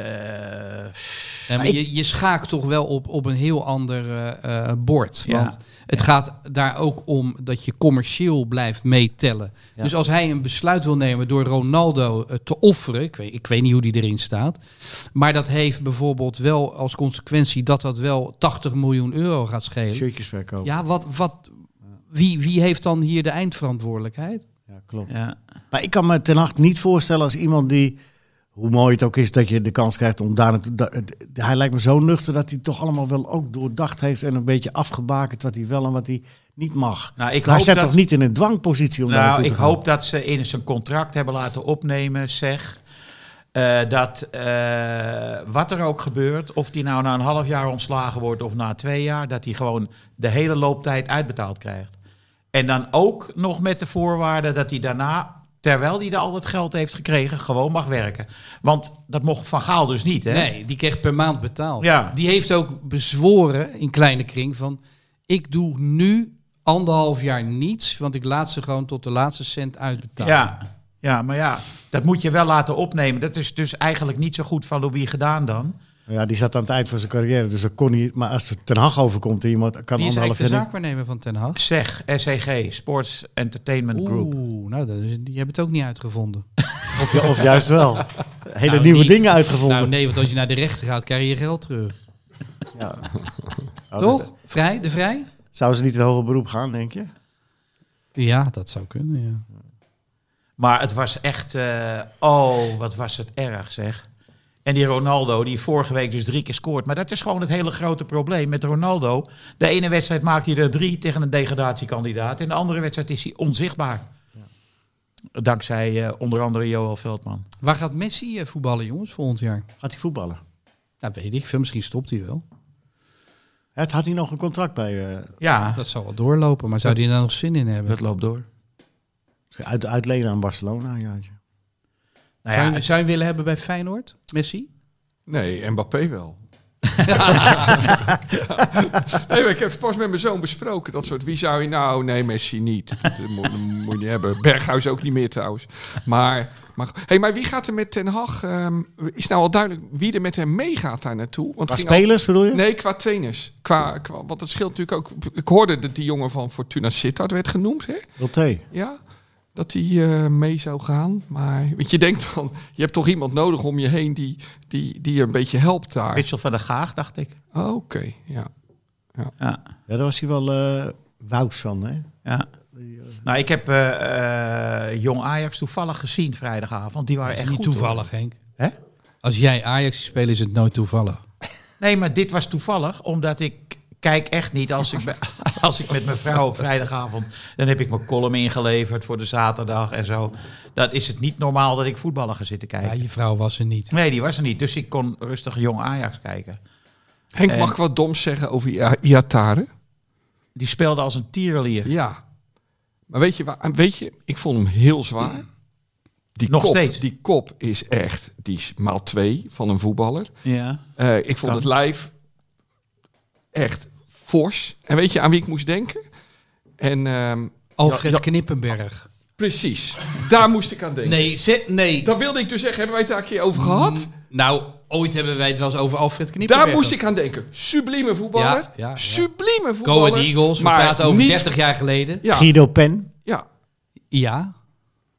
[SPEAKER 1] Nee, maar je, je schaakt toch wel op, op een heel ander eh, eh, bord.
[SPEAKER 4] Ja.
[SPEAKER 1] Want het gaat daar ook om dat je commercieel blijft meetellen.
[SPEAKER 2] Ja.
[SPEAKER 1] Dus als hij een besluit wil nemen door Ronaldo eh, te offeren... Ik weet, ik weet niet hoe die erin staat. Maar dat heeft bijvoorbeeld wel als consequentie... dat dat wel 80 miljoen euro gaat schelen.
[SPEAKER 2] Shirtjes verkopen. Ja.
[SPEAKER 1] Ja, wat... wat wie, wie heeft dan hier de eindverantwoordelijkheid?
[SPEAKER 2] klopt.
[SPEAKER 4] ja.
[SPEAKER 2] Maar ik kan me ten acht niet voorstellen als iemand die... Hoe mooi het ook is dat je de kans krijgt om daar naartoe... da- d- hij lijkt me zo nuchter dat hij toch allemaal wel ook doordacht heeft... en een beetje afgebakend wat hij wel en wat hij niet mag.
[SPEAKER 4] Nou, ik
[SPEAKER 2] hij
[SPEAKER 4] hoop
[SPEAKER 2] zit
[SPEAKER 4] dat-
[SPEAKER 2] toch niet in een dwangpositie om daar
[SPEAKER 4] Nou,
[SPEAKER 2] naartoe
[SPEAKER 4] ik
[SPEAKER 2] te gaan?
[SPEAKER 4] hoop dat ze in zijn contract hebben laten opnemen, zeg. eh, dat eh, wat er ook gebeurt, of die nou na een half jaar ontslagen wordt of na twee jaar, dat hij gewoon de hele looptijd uitbetaald krijgt. En dan ook nog met de voorwaarde dat hij daarna, terwijl hij al dat geld heeft gekregen, gewoon mag werken. Want dat mocht Van Gaal dus niet, hè?
[SPEAKER 1] Nee, die kreeg per maand betaald.
[SPEAKER 4] Ja.
[SPEAKER 1] Die heeft ook bezworen in kleine kring van... ik doe nu anderhalf jaar niets, want ik laat ze gewoon tot de laatste cent uitbetalen.
[SPEAKER 4] Ja. ja, maar ja, dat moet je wel laten opnemen. Dat is dus eigenlijk niet zo goed van Louis gedaan dan.
[SPEAKER 2] Ja, die zat aan het eind van zijn carrière, dus dat kon niet. Maar als het Ten Hag overkomt, en iemand kan
[SPEAKER 1] Wie is eigenlijk
[SPEAKER 2] anderhalf
[SPEAKER 1] de
[SPEAKER 2] jaar... niet-
[SPEAKER 1] zaakwaarnemer van Ten Hag?
[SPEAKER 4] SEG, SEG, E Sports Entertainment Group.
[SPEAKER 1] Oeh, nou, dat is, die hebben het ook niet uitgevonden.
[SPEAKER 2] Of, ju- of juist wel. Hele
[SPEAKER 1] (laughs) Nou,
[SPEAKER 2] nieuwe
[SPEAKER 1] niet.
[SPEAKER 2] dingen uitgevonden.
[SPEAKER 1] Nou nee, want als je naar de rechter gaat, krijg je je geld terug.
[SPEAKER 2] Ja. Nou,
[SPEAKER 1] Toch?
[SPEAKER 2] dus-
[SPEAKER 1] Vrij, de vrij?
[SPEAKER 2] Zouden ze niet in hoger beroep gaan, denk je?
[SPEAKER 1] Ja, dat zou kunnen, ja.
[SPEAKER 4] Maar het was echt, eh, oh, wat was het erg zeg. En die Ronaldo, die vorige week dus drie keer scoort. Maar dat is gewoon het hele grote probleem met Ronaldo. De ene wedstrijd maakt hij er drie tegen een degradatiekandidaat. En de andere wedstrijd is hij onzichtbaar. Dankzij eh, onder andere Joel Veldman.
[SPEAKER 1] Waar gaat Messi eh, voetballen, jongens, volgend jaar?
[SPEAKER 2] Gaat hij voetballen?
[SPEAKER 1] Nou, weet ik veel. Misschien stopt hij wel.
[SPEAKER 2] Het had hij nog een contract bij. eh
[SPEAKER 4] Ja, nou
[SPEAKER 1] Dat zal wel doorlopen, maar zou die daar nog zin in hebben?
[SPEAKER 4] dat loopt door.
[SPEAKER 2] uit, uitlenen aan Barcelona, een jaartje.
[SPEAKER 4] Nou
[SPEAKER 1] zou,
[SPEAKER 4] ja,
[SPEAKER 1] je, zou je hem willen hebben bij Feyenoord, Messi?
[SPEAKER 5] Nee, Mbappé wel. nee, maar ik heb het pas met mijn zoon besproken. Dat soort, wie zou je nou? Nee, Messi niet. Dat moet, dat moet je niet hebben. Berghuis ook niet meer trouwens. Maar, maar, hey, maar wie gaat er met Ten Hag? ehm, is nou al duidelijk wie er met hem meegaat daar naartoe? Want
[SPEAKER 2] Qua
[SPEAKER 5] het ging al-
[SPEAKER 2] spelers bedoel je?
[SPEAKER 5] Nee, qua trainers. Qua, qua, want het scheelt natuurlijk ook. Ik hoorde dat die jongen van Fortuna Sittard werd genoemd. Hè?
[SPEAKER 2] Roté.
[SPEAKER 5] Ja, dat hij eh, mee zou gaan. Maar (laughs) want je denkt dan, je hebt toch iemand nodig om je heen die, die, die je een beetje helpt daar.
[SPEAKER 4] Mitchell van der Gaag, dacht ik.
[SPEAKER 5] Oh, Oké, ja.
[SPEAKER 4] Ja.
[SPEAKER 2] Ja, daar was hij wel eh wouds van, hè?
[SPEAKER 4] Ja. Nou, ik heb eh, eh, Jong Ajax toevallig gezien vrijdagavond. Die waren
[SPEAKER 1] Dat is
[SPEAKER 4] echt
[SPEAKER 1] niet
[SPEAKER 4] goed,
[SPEAKER 1] toevallig, Henk.
[SPEAKER 4] Hè?
[SPEAKER 1] Als jij Ajax speelt, is het nooit toevallig.
[SPEAKER 4] hoor. Nee, maar dit was toevallig, omdat ik kijk echt niet als ik, be- (laughs) als ik met mijn vrouw op vrijdagavond... Dan heb ik mijn column ingeleverd voor de zaterdag en zo. Dat is het niet normaal dat ik voetballen ga zitten
[SPEAKER 1] Ja,
[SPEAKER 4] kijken.
[SPEAKER 1] je vrouw was er niet.
[SPEAKER 4] Nee, die was er niet. Dus ik kon rustig Jong Ajax kijken.
[SPEAKER 5] Henk,
[SPEAKER 4] En-
[SPEAKER 5] mag ik wat doms zeggen over Ia- Iatare?
[SPEAKER 4] Die speelde als een tierenlier.
[SPEAKER 5] Ja. Maar weet je, waar, weet je, ik vond hem heel zwaar. Die
[SPEAKER 4] Nog
[SPEAKER 5] kop,
[SPEAKER 4] steeds.
[SPEAKER 5] Die kop is echt, die is maal twee van een voetballer.
[SPEAKER 4] Ja.
[SPEAKER 5] Eh, ik vond
[SPEAKER 4] Kan.
[SPEAKER 5] het lijf echt fors. En weet je aan wie ik moest denken? En ehm,
[SPEAKER 1] Alfred
[SPEAKER 5] Ja, ja.
[SPEAKER 1] Knippenberg.
[SPEAKER 5] precies, daar moest ik aan denken.
[SPEAKER 1] Nee, ze, nee.
[SPEAKER 5] Dat wilde ik dus zeggen, hebben wij het daar een keer over gehad?
[SPEAKER 1] Nou, ooit hebben wij het wel eens over Alfred Knippenberg.
[SPEAKER 5] Daar moest ik aan denken. Sublieme voetballer.
[SPEAKER 1] Ja, ja, ja.
[SPEAKER 5] Sublieme
[SPEAKER 1] Go
[SPEAKER 5] voetballer.
[SPEAKER 1] Ahead Eagles, we
[SPEAKER 5] maar
[SPEAKER 1] praten over
[SPEAKER 5] niet-
[SPEAKER 1] 30 jaar geleden.
[SPEAKER 5] Ja,
[SPEAKER 2] Guido Pen.
[SPEAKER 5] ja.
[SPEAKER 1] Ja.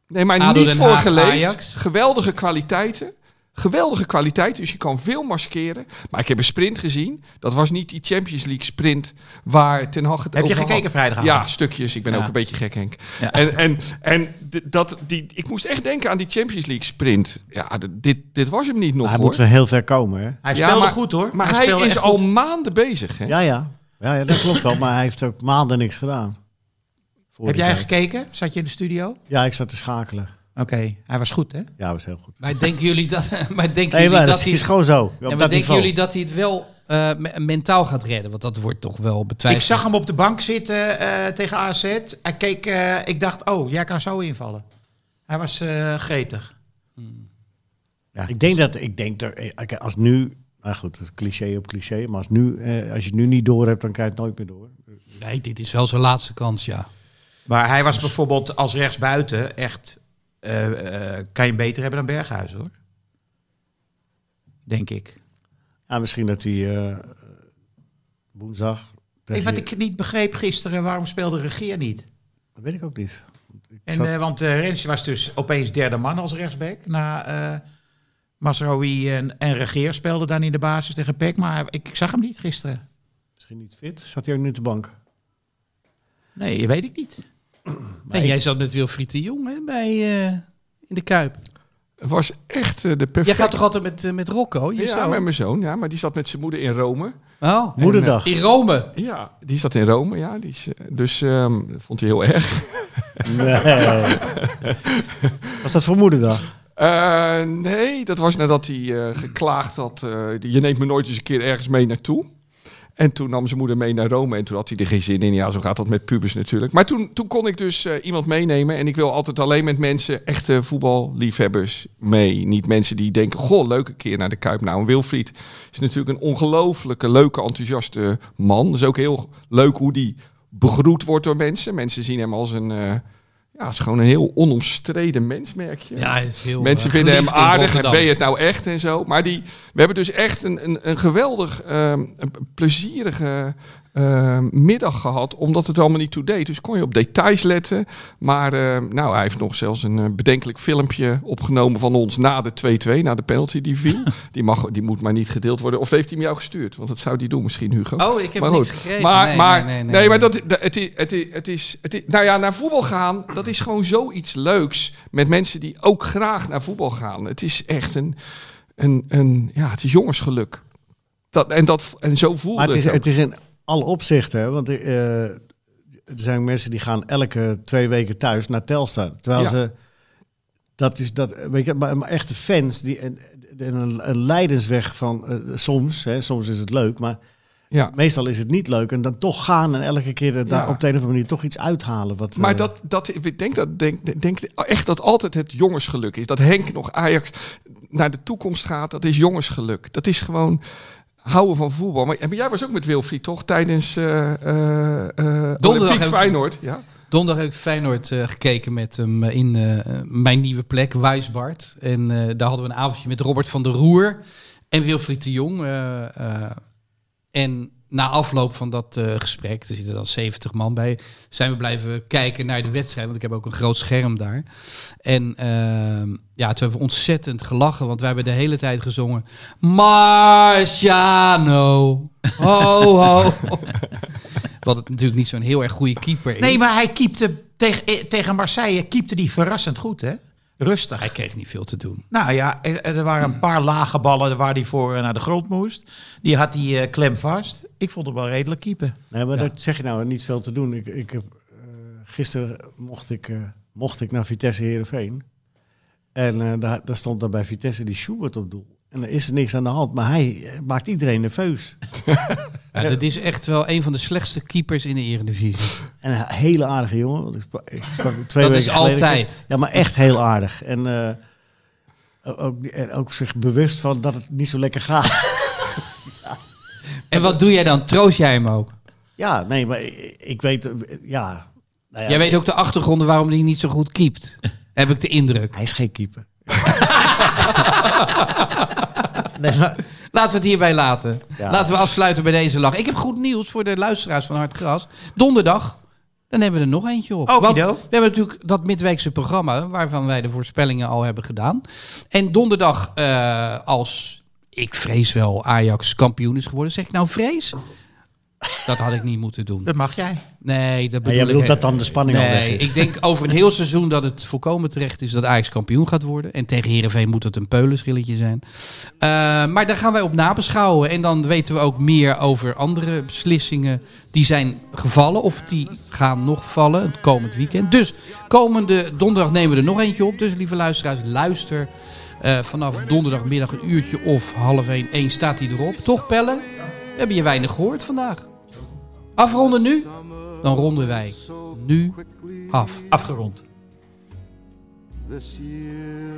[SPEAKER 5] Nee, maar
[SPEAKER 1] ADO
[SPEAKER 5] niet
[SPEAKER 1] Den
[SPEAKER 5] voor
[SPEAKER 1] Haag,
[SPEAKER 5] geleefd.
[SPEAKER 1] Ajax.
[SPEAKER 5] Geweldige kwaliteiten. Geweldige kwaliteiten, dus je kan veel maskeren. Maar ik heb een sprint gezien. Dat was niet die Champions League sprint waar Ten Hag het
[SPEAKER 4] Heb je
[SPEAKER 5] over had.
[SPEAKER 4] gekeken vrijdagavond?
[SPEAKER 5] Ja, stukjes. Ik ben ook een beetje gek, Henk.
[SPEAKER 4] Ja.
[SPEAKER 5] En, en, en d- dat, die, ik moest echt denken aan die Champions League sprint. Ja, d- dit, dit was hem niet nog,
[SPEAKER 2] Hij
[SPEAKER 5] hoor.
[SPEAKER 2] moet wel heel ver komen, hè?
[SPEAKER 4] Hij
[SPEAKER 5] Ja,
[SPEAKER 4] speelde
[SPEAKER 5] maar-
[SPEAKER 4] goed hoor.
[SPEAKER 5] Maar hij,
[SPEAKER 4] speelde
[SPEAKER 5] is
[SPEAKER 4] echt
[SPEAKER 5] al
[SPEAKER 4] goed.
[SPEAKER 5] maanden bezig, hè?
[SPEAKER 2] Ja, ja. Ja, ja, dat klopt wel. Maar hij heeft ook maanden niks gedaan. Voor
[SPEAKER 4] Heb
[SPEAKER 2] die
[SPEAKER 4] jij
[SPEAKER 2] tijd.
[SPEAKER 4] gekeken? Zat je in de studio? Oké,
[SPEAKER 2] Ja, ik zat te schakelen.
[SPEAKER 4] hij was goed hè?
[SPEAKER 2] Ja, was heel goed.
[SPEAKER 1] Maar denken jullie dat, (laughs) maar denken
[SPEAKER 2] Nee,
[SPEAKER 1] jullie
[SPEAKER 2] maar
[SPEAKER 1] dat,
[SPEAKER 2] dat
[SPEAKER 1] hij...
[SPEAKER 2] is gewoon zo. Op
[SPEAKER 1] Ja, maar
[SPEAKER 2] dat
[SPEAKER 1] denken
[SPEAKER 2] niveau.
[SPEAKER 1] jullie dat hij het wel eh, me- mentaal gaat redden? Want dat wordt toch wel
[SPEAKER 4] Ik
[SPEAKER 1] betwijfeld.
[SPEAKER 4] zag hem op de bank zitten eh, tegen AZ. Hij keek, eh, ik dacht, oh, jij kan zo invallen. Hij was eh, gretig.
[SPEAKER 2] Ik denk dat, ik denk dat, eh, oké, als nu, nou goed, dat is cliché op cliché, maar als, nu, eh, als je het nu niet door hebt, dan krijg je het nooit meer door.
[SPEAKER 1] Nee, dit is wel zijn laatste kans, ja.
[SPEAKER 4] Maar hij was bijvoorbeeld als rechtsbuiten echt... eh, eh, kan je hem beter hebben dan Berghuis, hoor. Denk ik.
[SPEAKER 2] Ja, misschien dat hij eh, woensdag.
[SPEAKER 4] Hey,
[SPEAKER 2] tegen-
[SPEAKER 4] wat ik niet begreep gisteren, waarom speelde Regeer niet?
[SPEAKER 2] Dat weet ik ook niet. Ik
[SPEAKER 4] En,
[SPEAKER 2] zat-
[SPEAKER 4] eh, want eh Rens was dus opeens derde man als rechtsback. Na eh Masraoui en, en Regeer speelden dan in de basis tegen Peck. Maar hij- ik, ik zag hem niet gisteren.
[SPEAKER 2] Misschien niet fit. Zat hij ook nu op de bank?
[SPEAKER 4] Nee, weet ik niet.
[SPEAKER 1] En jij zat met Wilfried de Jong hè, bij, eh, in de Kuip.
[SPEAKER 5] Het was echt eh, de
[SPEAKER 1] Jij
[SPEAKER 5] perfecte...
[SPEAKER 1] gaat toch altijd met, eh, met Rocco? Je
[SPEAKER 5] ja,
[SPEAKER 1] zoon?
[SPEAKER 5] met mijn zoon, ja, maar die zat met zijn moeder in Rome.
[SPEAKER 1] Oh, (laughs)
[SPEAKER 2] Moederdag.
[SPEAKER 1] in Rome.
[SPEAKER 5] Ja, die zat in Rome, ja. Die is, eh, dus ehm, dat vond hij heel erg.
[SPEAKER 2] Nee. Was dat voor moederdag?
[SPEAKER 5] Eh, nee, dat was nadat hij eh, geklaagd had. eh, je neemt me nooit eens een keer ergens mee naartoe. En toen nam zijn moeder mee naar Rome en toen had hij er geen zin in. Ja, zo gaat dat met pubers natuurlijk. Maar toen, toen kon ik dus eh, iemand meenemen. En ik wil altijd alleen met mensen, echte voetballiefhebbers, mee. Niet mensen die denken, goh, leuke keer naar de Kuip. Nou, en Wilfried is natuurlijk een ongelooflijke, leuke, enthousiaste man. Dus ook heel leuk hoe die begroet wordt door mensen. Mensen zien hem als een... eh, ja, het is gewoon een heel onomstreden mens, merk je.
[SPEAKER 1] Ja, hij is heel,
[SPEAKER 5] Mensen
[SPEAKER 1] eh,
[SPEAKER 5] vinden hem
[SPEAKER 1] geliefd in
[SPEAKER 5] aardig en
[SPEAKER 1] Rotterdam.
[SPEAKER 5] ben je het nou echt en zo. Maar die, we hebben dus echt een, een, een geweldig ehm, een plezierige ehm, middag gehad. Omdat het er allemaal niet toe deed. Dus kon je op details letten. Maar ehm, nou, hij heeft nog zelfs een eh, bedenkelijk filmpje opgenomen van ons na de 2-2. Na de penalty die
[SPEAKER 1] (laughs)
[SPEAKER 5] viel. die, mag, die moet maar niet gedeeld worden. Of heeft hij hem jou gestuurd? Want dat zou die doen misschien, Hugo.
[SPEAKER 1] Oh, ik heb
[SPEAKER 5] Maar
[SPEAKER 1] niks
[SPEAKER 5] goed.
[SPEAKER 1] gekregen.
[SPEAKER 5] Maar,
[SPEAKER 1] nee,
[SPEAKER 5] maar,
[SPEAKER 1] nee,
[SPEAKER 5] nee,
[SPEAKER 1] nee,
[SPEAKER 5] maar dat, dat- het, is, het, is, het, is, het is- Nou ja, naar voetbal gaan, dat is gewoon zoiets leuks. Met mensen die ook graag naar voetbal gaan. Het is echt een. een, een ja, het is jongensgeluk. Dat, en, dat, en zo voelde
[SPEAKER 2] Maar het is,
[SPEAKER 5] ook.
[SPEAKER 2] het is in alle opzichten, hè, want eh, er zijn mensen die gaan elke twee weken thuis naar Telstar. Terwijl
[SPEAKER 5] Ja.
[SPEAKER 2] ze, dat is dat, weet je, maar, maar echte fans, die, en, en een, een leidensweg van eh, soms, hè, soms is het leuk, maar
[SPEAKER 5] ja.
[SPEAKER 2] meestal is het niet leuk. En dan toch gaan en elke keer er daar
[SPEAKER 5] Ja.
[SPEAKER 2] op de een of andere manier toch iets uithalen. Wat,
[SPEAKER 5] Maar
[SPEAKER 2] eh,
[SPEAKER 5] dat, dat, ik denk, dat, denk, denk echt dat altijd het jongensgeluk is. Dat Henk nog Ajax naar de toekomst gaat, dat is jongensgeluk. Dat is gewoon houden van voetbal. Maar, maar jij was ook met Wilfried, toch? Tijdens eh eh eh Olympiek
[SPEAKER 1] hebben we-
[SPEAKER 5] Feyenoord. Ja?
[SPEAKER 1] Donderdag heb ik Feyenoord eh, gekeken met hem eh, in eh, mijn nieuwe plek, Wijsbart. En eh, daar hadden we een avondje met Robert van der Roer en Wilfried de Jong. eh, eh, en na afloop van dat eh, gesprek, er zitten dan 70 man bij, zijn we blijven kijken naar de wedstrijd. Want ik heb ook een groot scherm daar. En ehm, ja, toen hebben we ontzettend gelachen, want wij hebben de hele tijd gezongen... Marciano, ho
[SPEAKER 4] (laughs)
[SPEAKER 1] ho. Wat het natuurlijk niet zo'n heel erg goede keeper is.
[SPEAKER 4] Nee, maar hij keepte tegen, eh, tegen Marseille keepte die verrassend goed, hè? Rustig.
[SPEAKER 1] Hij kreeg niet veel te doen.
[SPEAKER 4] Nou ja, er, er waren een paar lage ballen waar hij voor eh, naar de grond moest. Die had hij eh, klem vast. Ik vond hem wel redelijk keeper.
[SPEAKER 2] Nee, maar
[SPEAKER 1] Ja.
[SPEAKER 2] dat zeg je nou niet veel te doen. Ik, ik heb, eh, gisteren mocht ik, eh, mocht ik naar Vitesse Herenveen. En eh, daar, daar stond dan bij Vitesse die Schubert op doel. En er is er niks aan de hand, maar hij eh, maakt iedereen nerveus.
[SPEAKER 1] Ja, dat is echt wel een van de slechtste keepers in de Eredivisie. (laughs)
[SPEAKER 2] En een hele aardige jongen. want ik spra- ik sprak hem twee
[SPEAKER 1] Dat is
[SPEAKER 2] weken geleden.
[SPEAKER 1] altijd.
[SPEAKER 2] Ja, maar echt heel aardig. En eh, ook, en ook zich bewust van dat het niet zo lekker gaat. (laughs)
[SPEAKER 1] En wat doe jij dan? Troost jij hem ook?
[SPEAKER 2] ja, nee, maar ik, ik weet... eh, Ja, nou ja,
[SPEAKER 1] Jij weet ook de achtergronden waarom hij niet zo goed keept. Heb ik de indruk.
[SPEAKER 2] Hij is geen keeper. (laughs) nee, maar
[SPEAKER 1] Laten we het hierbij laten.
[SPEAKER 2] Ja.
[SPEAKER 1] Laten we afsluiten bij deze lach. Ik heb goed nieuws voor de luisteraars van Hard Gras. Donderdag, dan hebben we er nog eentje op. Want
[SPEAKER 4] Okido.
[SPEAKER 1] we hebben natuurlijk dat midweekse programma... waarvan wij de voorspellingen al hebben gedaan. En donderdag, eh, als ik vrees wel Ajax kampioen is geworden... zeg ik nou vrees? Dat had ik niet moeten doen.
[SPEAKER 4] Dat mag jij.
[SPEAKER 1] Nee, dat
[SPEAKER 2] Ja,
[SPEAKER 1] bedoel
[SPEAKER 2] jij bedoelt
[SPEAKER 1] ik
[SPEAKER 2] dat dan de spanning al weg
[SPEAKER 1] Nee,
[SPEAKER 2] is.
[SPEAKER 1] ik denk over een heel seizoen dat het volkomen terecht is dat Ajax kampioen gaat worden. En tegen Heerenveen moet het een peulenschilletje zijn. Eh, maar daar gaan wij op nabeschouwen. En dan weten we ook meer over andere beslissingen die zijn gevallen. Of die gaan nog vallen het komend weekend. Dus komende donderdag nemen we er nog eentje op. Dus lieve luisteraars, luister. eh, vanaf donderdagmiddag een uurtje of half één, één staat hij erop. Toch pellen? We hebben je weinig gehoord vandaag. Afronden nu? Dan ronden wij nu af.
[SPEAKER 4] Afgerond.
[SPEAKER 3] this year.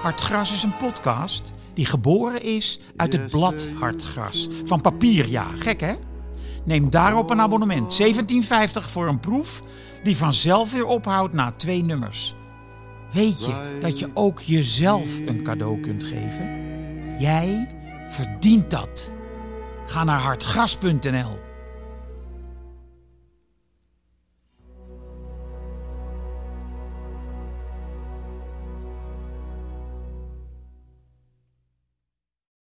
[SPEAKER 4] Hard Gras is een podcast die geboren is uit het blad Hard Gras. Van papier, ja. Gek, hè? Neem daarop een abonnement. 17,50 voor een proef die vanzelf weer ophoudt na twee nummers. Weet je dat je ook jezelf een cadeau kunt geven? Jij verdient dat. Ga naar hartgras.nl.